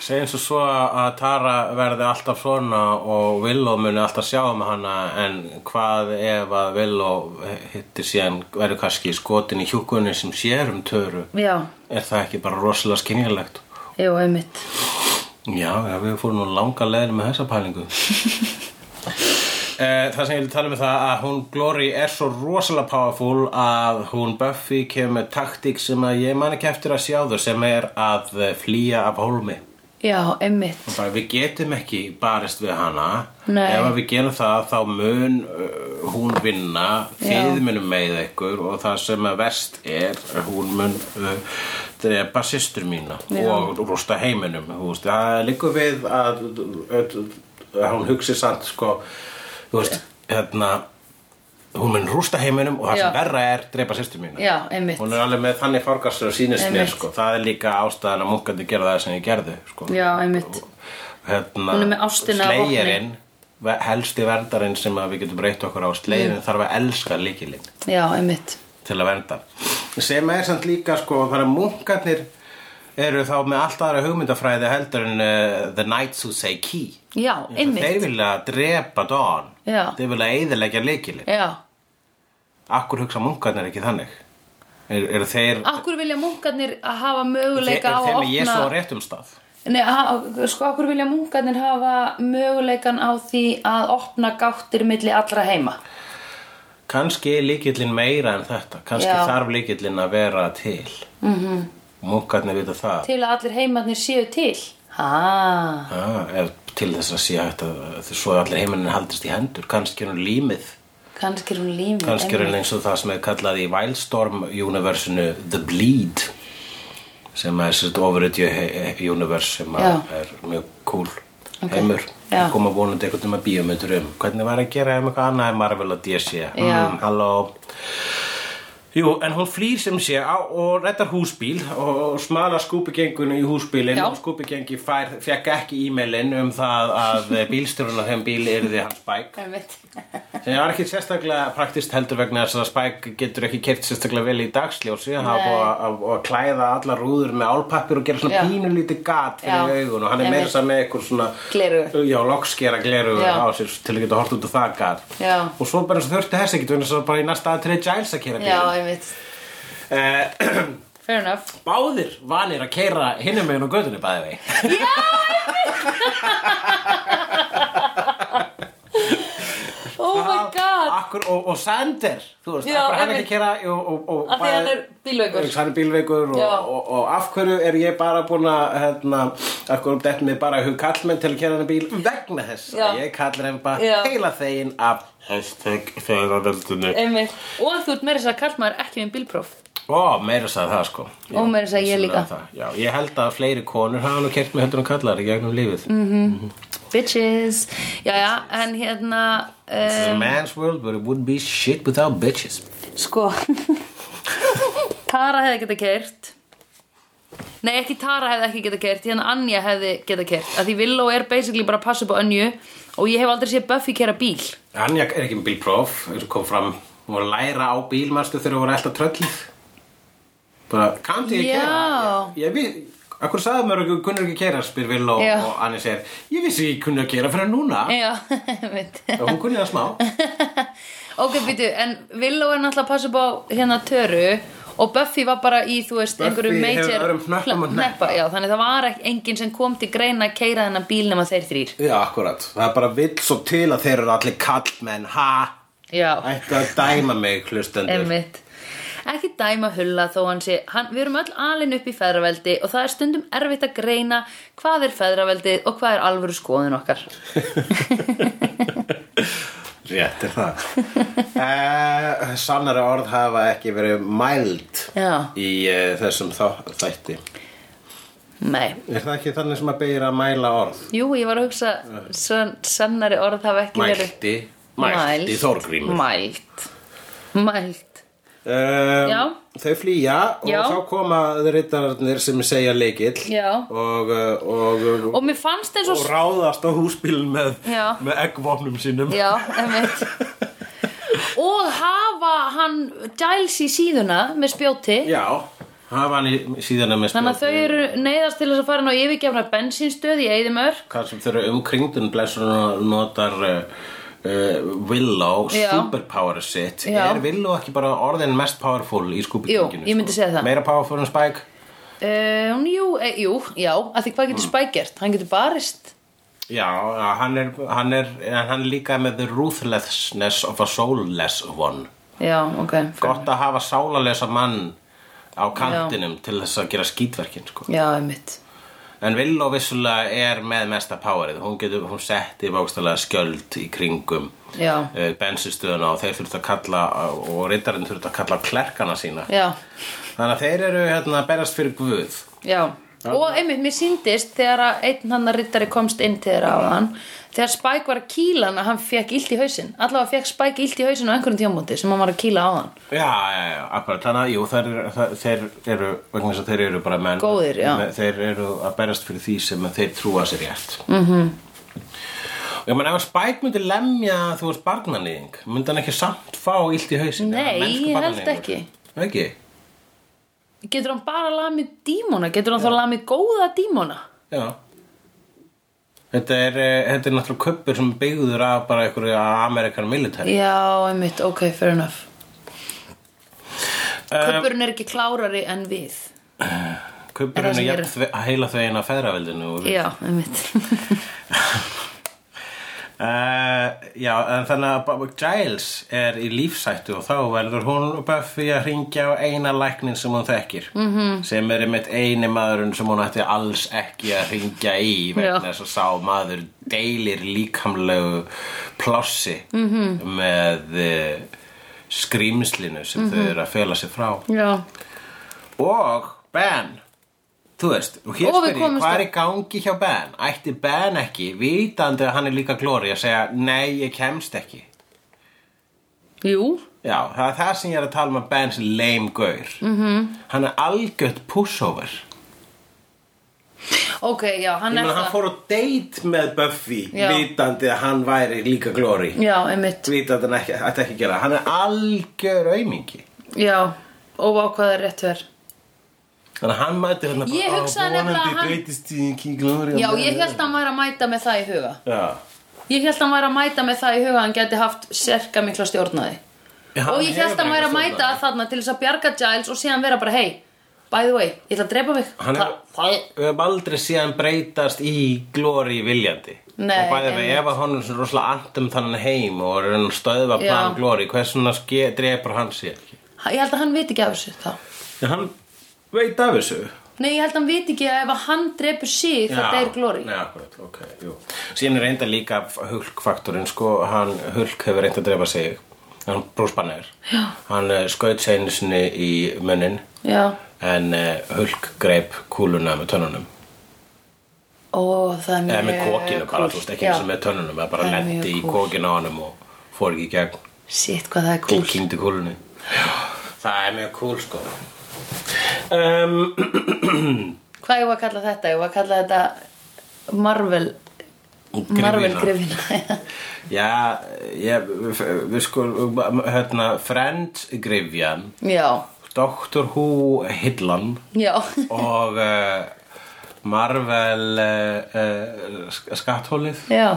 [SPEAKER 2] segja eins og svo að Tara verði alltaf svona og Willow muni alltaf sjá um hana en hvað ef að Willow hittir síðan verður kannski skotin í hjúkunni sem sér um töru
[SPEAKER 3] já,
[SPEAKER 2] er það ekki bara rosalega skynjulegt
[SPEAKER 3] já, einmitt
[SPEAKER 2] já, já, við fórum nú langa leiðin með þessa pælingu Eh, Það sem ég vil tala um er það að hún Glory er svo rosalega powerful að hún Buffy kemur með taktík sem að ég man ekki eftir að sjá þau sem er að eh, flýja af hólmi
[SPEAKER 3] já, einmitt
[SPEAKER 2] bara, við getum ekki barist við hana
[SPEAKER 3] Nei.
[SPEAKER 2] ef að við gerum það þá mun uh, hún vinna þið munum með ykkur og það sem að verst er hún mun uh, drepa systur mína og rústa heiminum þú veist, það liggur við að, að, að hún hugsi samt sko, þú veist, hérna hún mun rústa heiminum og það sem
[SPEAKER 3] Já.
[SPEAKER 2] verra er drepa systur mína
[SPEAKER 3] Já, einmitt.
[SPEAKER 2] hún er alveg með þannig fargastur og sínist mér
[SPEAKER 3] Einmitt.
[SPEAKER 2] sko. það er líka ástæðan að munkandi gera það sem ég gerði sko
[SPEAKER 3] Já, einmitt.
[SPEAKER 2] hérna,
[SPEAKER 3] Hún er með ástina að vopni.
[SPEAKER 2] Slayerinn, ve- helsti verndarinn sem að við getum breytt okkur á
[SPEAKER 3] Mm.
[SPEAKER 2] Slayerinn þarf að elska líkilinn
[SPEAKER 3] já, einmitt
[SPEAKER 2] til að vernda sem er samt líka sko þar að munkarnir eru þá með allt aðra hugmyndafræði heldur en uh, The Knights Who Say Key
[SPEAKER 3] já,
[SPEAKER 2] þeir
[SPEAKER 3] einmitt,
[SPEAKER 2] vilja drepa Dawn
[SPEAKER 3] Já.
[SPEAKER 2] þeir vilja eðilegja líkilinn
[SPEAKER 3] já
[SPEAKER 2] akkur hugsa munkarnir ekki þannig eru er þeir
[SPEAKER 3] Akkur vilja munkarnir að hafa möguleika á
[SPEAKER 2] er
[SPEAKER 3] að
[SPEAKER 2] þeir
[SPEAKER 3] opna
[SPEAKER 2] með Jésu á réttum stað
[SPEAKER 3] Nei, ha- sko, akkur vilja munkarnir hafa möguleikan á því að opna gáttir milli allra heima.
[SPEAKER 2] kannski líkillin meira en þetta kannski
[SPEAKER 3] Já. Mhm.
[SPEAKER 2] þarf líkillin að vera til mm -hmm. munkarnir vita það
[SPEAKER 3] Til að allir heimarnir séu til. Ha,
[SPEAKER 2] ah, ef, til þess að sé hægt að þess svo allir heiminin haldist í hendur kannski er hún límið
[SPEAKER 3] kannski er hún límið.
[SPEAKER 2] kannski er hún eins og það sem er kallað í Wildstorm universinu The Bleed sem er sérst ofurutju univers sem að
[SPEAKER 3] Já.
[SPEAKER 2] er mjög cool heimur
[SPEAKER 3] Já.
[SPEAKER 2] koma vonandi einhvern veginn að bíómyndur um hvernig var að gera um eitthvað annað en Marvel og DC
[SPEAKER 3] Já.
[SPEAKER 2] halló Jú, en hún flýr sem sé á, og rettar húsbíl og, og smala skúpigengunni í húsbílinn
[SPEAKER 3] Já.
[SPEAKER 2] og skúpigengi fær, fekk ekki e-mailinn um það að bílstjórun á þeim bíl yrði hans bæk
[SPEAKER 3] Einmitt.
[SPEAKER 2] sem var ekki sérstaklega praktist heldur vegna þess að Spike getur ekki keift sérstaklega vel í dagsljósi hann hafa
[SPEAKER 3] Nei.
[SPEAKER 2] búið að- að, að klæða allar rúður með álpappir og gera svona
[SPEAKER 3] Já.
[SPEAKER 2] pínulítið gat
[SPEAKER 3] Já.
[SPEAKER 2] fyrir augun og hann er
[SPEAKER 3] Einmitt.
[SPEAKER 2] meira sem með eitthvað svona
[SPEAKER 3] Gleraugu.
[SPEAKER 2] já, lokskera gleru
[SPEAKER 3] Já.
[SPEAKER 2] á sér til að geta hort út á það gat
[SPEAKER 3] Já.
[SPEAKER 2] og svo bara eins og þurfti þess ekki vegna þess að bara í næsta aðtrið Giles að kera
[SPEAKER 3] Já, einmitt.
[SPEAKER 2] bíl uh,
[SPEAKER 3] Fair enough.
[SPEAKER 2] báðir vanir að keira hinum meginn á götunni bæði vei
[SPEAKER 3] Oh my god.
[SPEAKER 2] Akkur, og, og Sander, þú veist,
[SPEAKER 3] Já,
[SPEAKER 2] akkur hann
[SPEAKER 3] einmitt.
[SPEAKER 2] ekki að kera og, og, og
[SPEAKER 3] Af því
[SPEAKER 2] bæði-
[SPEAKER 3] hann er bílveikur.
[SPEAKER 2] hann er bílveikur og,
[SPEAKER 3] Já.
[SPEAKER 2] og, og af hverju er ég bara búin að hérna, af hverju dett mér bara í hug kallmenn til að kera hann bíl vegna þess
[SPEAKER 3] Já.
[SPEAKER 2] ég kallar hann bara
[SPEAKER 3] Já.
[SPEAKER 2] heila þegin af hashtag feðraveldinu
[SPEAKER 3] Einmitt. Og þú ert meira þess að kalla maður ekki með bílpróf.
[SPEAKER 2] Ó, meira sagði það sko Já,
[SPEAKER 3] Ó, meira sagði ég
[SPEAKER 2] vissulega
[SPEAKER 3] líka.
[SPEAKER 2] það. Já, ég held að fleiri konur hafa nú kert með heldur en kallar í gegnum lífið
[SPEAKER 3] Mm. Bitches. Já, já, en hérna, uh,
[SPEAKER 2] It's a man's world but it wouldn't be shit without bitches
[SPEAKER 3] sko, Tara hefði geta kert. Nei, ekki Tara hefði ekki geta kert, hérna Anja hefði geta kert. Að því Villó er basically bara að passa upp á Önju og ég hef aldrei séð Buffy kera bíl.
[SPEAKER 2] Anja er ekki með bílpróf eins og kom fram hún var að læra á bílmastu þegar hún var alltaf tröllið bara, kanntu ég
[SPEAKER 3] Já.
[SPEAKER 2] að kera? Ég, ég við, akkur sagði mér ekki, kunnur ekki að kera spyr Vill og,
[SPEAKER 3] Já.
[SPEAKER 2] og Anja segir ég vissi ekki kunni að kera fyrir núna
[SPEAKER 3] Já, veit.
[SPEAKER 2] og hún kunni það smá
[SPEAKER 3] ok, býtu, en Villó er náttúrulega að passa upp á hérna Töru og Buffy var bara í, þú veist,
[SPEAKER 2] Buffy
[SPEAKER 3] einhverju
[SPEAKER 2] hefur
[SPEAKER 3] major
[SPEAKER 2] öðrum hnöppum að
[SPEAKER 3] hneppa. Já, þannig það var ekki enginn sem kom til greina að keira þennan bíl nema þeir þrýr.
[SPEAKER 2] Já, akkurat, það er bara vill svo til að þeir eru allir kallmenn, ha
[SPEAKER 3] Já,
[SPEAKER 2] ættu að dæma mig hlustendur
[SPEAKER 3] einmitt. Ekki dæma hulla þó hann sé, hann, við erum öll alin upp í feðraveldi og það er stundum erfitt að greina hvað er feðraveldið og hvað er alvöru skoðun okkar.
[SPEAKER 2] Rétt er það uh, Sannara orð hafa ekki verið mæld eh,
[SPEAKER 3] Já.
[SPEAKER 2] í uh, þessum þá, þætti
[SPEAKER 3] nei
[SPEAKER 2] Er það ekki þannig sem að beigir að mæla orð?
[SPEAKER 3] Jú, ég var að hugsa sann, sannari orð hafa ekki verið
[SPEAKER 2] Mælti, mælti Þorgrímur.
[SPEAKER 3] Mælt Mælt Já.
[SPEAKER 2] Um, þau flýja og
[SPEAKER 3] Já.
[SPEAKER 2] þá koma rittararnir sem segja leikill
[SPEAKER 3] Já.
[SPEAKER 2] og, uh, og, og,
[SPEAKER 3] Og mér fannst eins og,
[SPEAKER 2] og ráðast á húsbílun með,
[SPEAKER 3] Já.
[SPEAKER 2] með eggvopnum sínum
[SPEAKER 3] Já, einmitt Og hafa hann Giles í síðuna með spjóti
[SPEAKER 2] Já, hafa hann í- síðan að með
[SPEAKER 3] Þannig að þau eru neyðast til þess að fara ná yfirgefna bensínstöð í Eidimörk
[SPEAKER 2] hvað sem þau eru umkringdun blessun og notar uh, uh, Willow,
[SPEAKER 3] Já.
[SPEAKER 2] superpower sitt
[SPEAKER 3] Já.
[SPEAKER 2] er Willow ekki bara orðin mest powerful í skúbikinginu?
[SPEAKER 3] Jú, ég myndi segja það.
[SPEAKER 2] Meira powerful en Spike?
[SPEAKER 3] um, jú, e, jú, já, að því hvað getur Spike gert? Hann getur barist
[SPEAKER 2] Já, hann er, hann er, en hann er líka með the ruthlessness of a soulless one
[SPEAKER 3] Já, ok
[SPEAKER 2] gott að hafa sálalesa mann á kantinum til þess að gera skítverkin sko.
[SPEAKER 3] Já, einmitt
[SPEAKER 2] en Villó vissulega er með mesta powerið hún, getur, hún setti bókstælega skjöld í kringum
[SPEAKER 3] Já,
[SPEAKER 2] uh, bensinstöðuna og þeir þurft að kalla og riddarinn þurft að kalla á klerkana sína
[SPEAKER 3] já,
[SPEAKER 2] þannig að þeir eru hérna að berast fyrir guð
[SPEAKER 3] já Og einmitt, mér síndist þegar að einn hann að rittari komst inn til þeirra á hann Þegar Spike var að kýla hann að hann fekk illt í hausinn Allavega fekk Spike illt í hausinn á einhverjum tímamóti sem hann var að kýla á hann
[SPEAKER 2] Já, já, já, akkurat, þannig að jú, þeir, þeir, þeir eru, vegna þess að þeir eru bara menn
[SPEAKER 3] Góðir, já.
[SPEAKER 2] Þeir eru að berast fyrir því sem að þeir trúa sér rétt mm
[SPEAKER 3] Mhm.
[SPEAKER 2] -hmm. Ég menn, ef að Spike myndi lemja, þú veist, barnanýðing myndi hann ekki samt fá illt í hausinn eða
[SPEAKER 3] Nei,
[SPEAKER 2] mennsku
[SPEAKER 3] ég held
[SPEAKER 2] barnaníðingur?
[SPEAKER 3] ekki.
[SPEAKER 2] Ekki?
[SPEAKER 3] Getur hann bara lamið dímona? Getur hann þá lamið góða dímona?
[SPEAKER 2] Já Þetta er, eh, þetta er náttúrulega köppur sem er byggður af bara einhverju Amerikan military
[SPEAKER 3] Já, einmitt, ok, fair enough Um, Köpurinn er ekki klárari en við Er það
[SPEAKER 2] Köppurinn
[SPEAKER 3] sem
[SPEAKER 2] er
[SPEAKER 3] eru?
[SPEAKER 2] jafn þve- heila þau eina feðraveldinu og við
[SPEAKER 3] Já, einmitt
[SPEAKER 2] Uh, já, en þannig að Bob Giles er í lífsættu og þá verður hún og Buffy að hringja á eina læknin sem hún þekkir
[SPEAKER 3] Mhm.
[SPEAKER 2] -hmm. sem er einmitt eini maðurinn sem hún ætti alls ekki að hringja í vegna
[SPEAKER 3] Já.
[SPEAKER 2] þess að sá maður deilir líkamlegu plássi
[SPEAKER 3] Mhm.
[SPEAKER 2] -hmm. með uh, skrýmslinu sem
[SPEAKER 3] Mhm.
[SPEAKER 2] þau eru að fela sig frá
[SPEAKER 3] Já,
[SPEAKER 2] og Ben þú veist, og hér
[SPEAKER 3] Og við
[SPEAKER 2] spyr ég,
[SPEAKER 3] komumst
[SPEAKER 2] hvað
[SPEAKER 3] að-
[SPEAKER 2] er í gangi hjá Ben? ætti Ben ekki, vitandi að hann er líka glóri að segja, nei, ég kemst ekki
[SPEAKER 3] jú,
[SPEAKER 2] já, það er það sem ég er að tala um að Ben sem lame gaur -hmm.
[SPEAKER 3] Mhm.
[SPEAKER 2] hann er algjört pushover
[SPEAKER 3] ok, já, hann
[SPEAKER 2] ég
[SPEAKER 3] er
[SPEAKER 2] meina, hann
[SPEAKER 3] það
[SPEAKER 2] fór á date með Buffy
[SPEAKER 3] Já.
[SPEAKER 2] vitandi að hann væri líka glóri
[SPEAKER 3] Já, einmitt,
[SPEAKER 2] vitandi að hann ekki, ætti ekki að gera það. hann er algjör aumingi
[SPEAKER 3] já, óvákvæða rétt verð
[SPEAKER 2] þannig að hann mæti hérna
[SPEAKER 3] Ég
[SPEAKER 2] bara, "Ó,
[SPEAKER 3] hugsaði nefnilega að hann-
[SPEAKER 2] vonandi breytist í King Glory
[SPEAKER 3] Já, ég held að hann væri að mæta með það í huga
[SPEAKER 2] já
[SPEAKER 3] Ég held að hann væri að mæta með það í huga að hann geti haft serka mikla stjórnaði
[SPEAKER 2] Já,
[SPEAKER 3] Og
[SPEAKER 2] hann
[SPEAKER 3] ég
[SPEAKER 2] hefur
[SPEAKER 3] held að hann
[SPEAKER 2] bara
[SPEAKER 3] væri að
[SPEAKER 2] eitthvað
[SPEAKER 3] mæta
[SPEAKER 2] stjórnaði.
[SPEAKER 3] þarna til þess að bjarga Giles og síðan vera bara, hey, by the way, ég ætla að drepa mig
[SPEAKER 2] Hann er, við höfum aldrei síðan breytast í glóri viljandi
[SPEAKER 3] Nei,
[SPEAKER 2] og bæði við
[SPEAKER 3] einmitt.
[SPEAKER 2] ef að honum sem rosalega andum þannig heim og er hann að stöðva plan
[SPEAKER 3] Já.
[SPEAKER 2] glóri hversuna drepur hann sér ekki
[SPEAKER 3] Þa- Ég held að hann viti ekki af þessu þá
[SPEAKER 2] en hann veit af þessu
[SPEAKER 3] Nei, ég held að hann viti ekki að ef að hann drepur sig þetta er glóri.
[SPEAKER 2] Nei, akkurat, ok, jú Síðan er reynda líka hulkfaktorinn sko, hann hulk hefur reynda að drepa sig hann brúsbannar hann eh, skaut seginu sinni í munnin
[SPEAKER 3] Já.
[SPEAKER 2] en eh, hulk greip kúluna með tönnunum
[SPEAKER 3] Ó, það er mjög
[SPEAKER 2] eða með kokinu bara, þú veist ekki
[SPEAKER 3] Já.
[SPEAKER 2] eins og með tönnunum eða bara
[SPEAKER 3] Það er
[SPEAKER 2] lendi
[SPEAKER 3] mjög
[SPEAKER 2] í
[SPEAKER 3] kúl.
[SPEAKER 2] kokinu á honum og fór ekki í gegn
[SPEAKER 3] Sitt, hvað það er
[SPEAKER 2] og
[SPEAKER 3] kúl.
[SPEAKER 2] kynnti kúlunni það er mjög kúl sko
[SPEAKER 3] Ehm,
[SPEAKER 2] um,
[SPEAKER 3] Hvað ég var að kalla þetta? Ég var að kalla þetta Marvel...
[SPEAKER 2] Gryfjuna.
[SPEAKER 3] Marvel grifina.
[SPEAKER 2] já, ég, við, við sko hérna, Friends Grifjan
[SPEAKER 3] já,
[SPEAKER 2] Doctor Who Hillan
[SPEAKER 3] já.
[SPEAKER 2] og uh, Marvel uh, uh, skatthólið
[SPEAKER 3] já,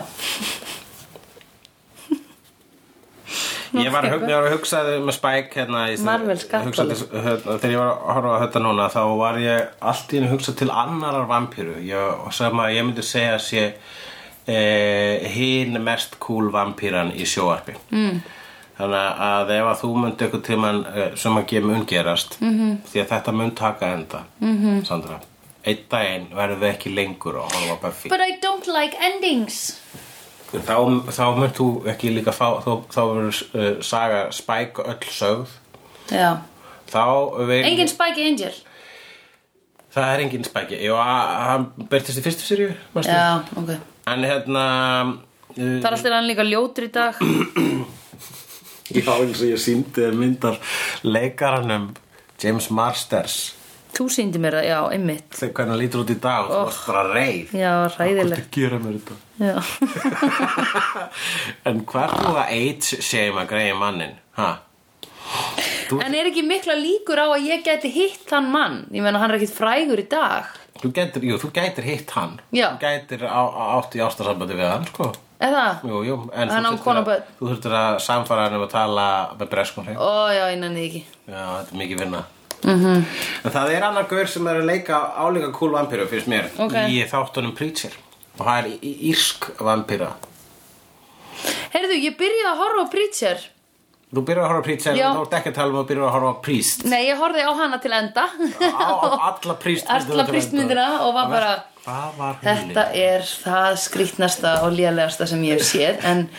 [SPEAKER 2] Ég var að hugsa, ég var að hugsa með Spike hérna, í-
[SPEAKER 3] Marvel
[SPEAKER 2] hugsa til- hérna, Þegar ég var að horfa að þetta núna þá var ég allt í henni að hugsa til annarar vampíru ég, sem að ég myndi segja að sé eh, hinn mest cool vampíran í sjóarpi mm. Þannig að ef að þú myndi eitthvað tímann eh, sem að gefa ungerast mm
[SPEAKER 3] Mhm.
[SPEAKER 2] -hmm. því að þetta mun taka enda mm -hmm. Sandra Einn daginn verðum við ekki lengur að horfa á Buffy
[SPEAKER 3] But I don't like endings.
[SPEAKER 2] Þá, þá mun þú ekki líka fá, þá, þá verður uh, saga Spike öll sögð
[SPEAKER 3] Já.
[SPEAKER 2] Þá vil
[SPEAKER 3] Engin Spike Angel.
[SPEAKER 2] það er engin spæki Jú, a- hann byrtist í fyrstu sirju
[SPEAKER 3] Já, ok
[SPEAKER 2] en hérna
[SPEAKER 3] Það er alltaf hann líka ljótur í dag
[SPEAKER 2] Já, eins og ég síndi þér myndar leikaranum James Marsters
[SPEAKER 3] Þú síndi mér það, já, einmitt
[SPEAKER 2] þegar hvernig hann lítur út í dag og þú varst
[SPEAKER 3] Oh.
[SPEAKER 2] bara reið
[SPEAKER 3] Já, hræðileg
[SPEAKER 2] að gera mér þetta
[SPEAKER 3] Já,
[SPEAKER 2] En hvað er þú að age shame að greiði mannin? Ha?
[SPEAKER 3] En er ekki mikla líkur á að ég geti hitt þann mann? Ég meina, hann er ekkit frægur í dag.
[SPEAKER 2] Þú gætir, jú, þú gætir hitt hann
[SPEAKER 3] Já.
[SPEAKER 2] Þú gætir á, á, átt í ástasambandi við hann, sko
[SPEAKER 3] Eða?
[SPEAKER 2] Jú, jú, en
[SPEAKER 3] Hann á
[SPEAKER 2] þú þurftir
[SPEAKER 3] konu og
[SPEAKER 2] að-
[SPEAKER 3] börn.
[SPEAKER 2] þú þurftir að samfara hann um að tala með breskun hrein Já,
[SPEAKER 3] Ó, já, innan því ekki. Mhm.
[SPEAKER 2] þetta er mikið vinna -hmm. En það er annar gaur sem er að leika álíka cool vampíru, finnst mér
[SPEAKER 3] Ok.
[SPEAKER 2] Í þáttunum Preacher Og það er í- í- írsk vampíra
[SPEAKER 3] Heyrðu, ég byrjaði að horfa á Preacher.
[SPEAKER 2] Þú byrjar að horfa á Preacher,
[SPEAKER 3] Já.
[SPEAKER 2] en þú ert ekki að tala um að byrjar að horfa á Priest
[SPEAKER 3] Nei, ég horfði á hana til enda.
[SPEAKER 2] á, á alla prístmyndina
[SPEAKER 3] Alla prístmyndina og var bara,
[SPEAKER 2] Hvað var hulli?
[SPEAKER 3] Þetta er það skrýtnasta og lélegasta sem ég hef séð, en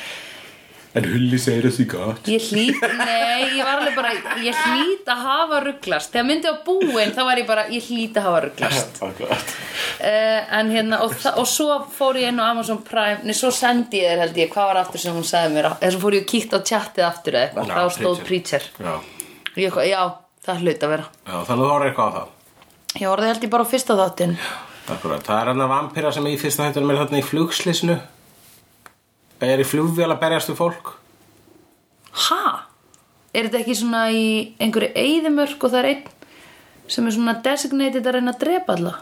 [SPEAKER 2] En hulli segir þessi gott
[SPEAKER 3] ég hlýt, nei, ég var alveg bara, ég hlýt að hafa rugglast. Þegar myndi á búin, þá var ég bara, ég hlýt að hafa rugglast.
[SPEAKER 2] Oh
[SPEAKER 3] uh, en hérna og, þa- og svo fór ég inn á Amazon Prime nei, svo sendi ég þér held ég, hvað var aftur sem hún sagði mér eða svo fór ég og kíkt á chatið aftur eða eitthvað,
[SPEAKER 2] Já,
[SPEAKER 3] þá stóð
[SPEAKER 2] Preacher.
[SPEAKER 3] Preacher
[SPEAKER 2] Já,
[SPEAKER 3] og ég eitthvað, já, það hlut að vera
[SPEAKER 2] já þannig þú horfir eitthvað á það
[SPEAKER 3] ég orðið held ég bara á fyrsta þáttin
[SPEAKER 2] Akkurat, það er hann að vampira sem í fyrsta hættunum er þarna í flugslisnu Er í flugvél að berjast við fólk
[SPEAKER 3] ha? er þetta ekki svona í einhverju eyðimörk og það er einn sem er svona designated að reyna að drepa alla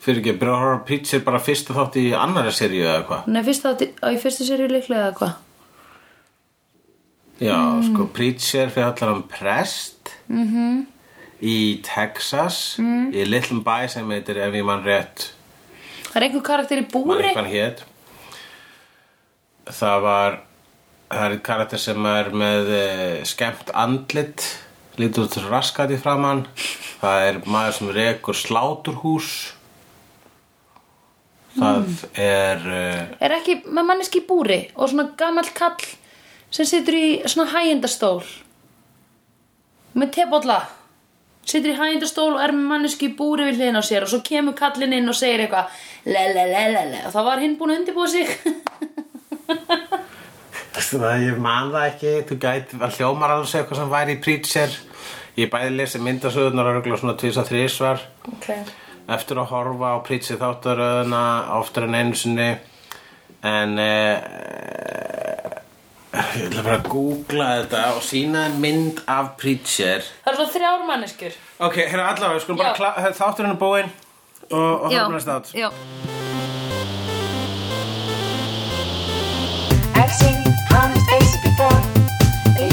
[SPEAKER 2] Fyrir ekki, byrjar að horfa á Preacher bara fyrsta þátt í annari seríu eða eitthvað
[SPEAKER 3] nei, fyrsta þáttin, á í fyrstu serju líklega eða hvað
[SPEAKER 2] Já, sko, Preacher fyrir allar um prest -hmm. Í Texas mm. Í litlum bæ sem heitir ef ég mann rétt
[SPEAKER 3] það er einhver karakter í
[SPEAKER 2] Man
[SPEAKER 3] búri
[SPEAKER 2] ekki hvað hann hét Það var Það er karakter sem er með eh, skemmt andlit Lítur út raskat í framann Það er maður sem rekur sláturhús Það er eh,
[SPEAKER 3] er ekki með manneski í búri og svona gamall kall sem situr í svona hægindastól með tebolla situr í hægindastól og er með manneski í búri við hliðin á sér og svo kemur kallinn inn og segir eitthvað lelelelele og það var hinn búin að undirbúa sig
[SPEAKER 2] Veistu það, Ég man það ekki Þú gæti að hljómar alveg segja eitthvað sem væri í Preacher Ég bæði lesi myndasöðunar og örugglega svona tvisa þrísvar
[SPEAKER 3] okay.
[SPEAKER 2] eftir að horfa á prítsi þáttaröðuna oftar en einu sinni en eh, ég ætla bara að googla þetta og sína þér mynd af prítsér
[SPEAKER 3] það er svona þrjár manneskjur
[SPEAKER 2] ok, hérna allavega, við skulum
[SPEAKER 3] Já.
[SPEAKER 2] bara klá- þátturinn er búinn og, og
[SPEAKER 3] Já.
[SPEAKER 2] horfum næst átt
[SPEAKER 3] Já.
[SPEAKER 4] I've seen honest faces before. They're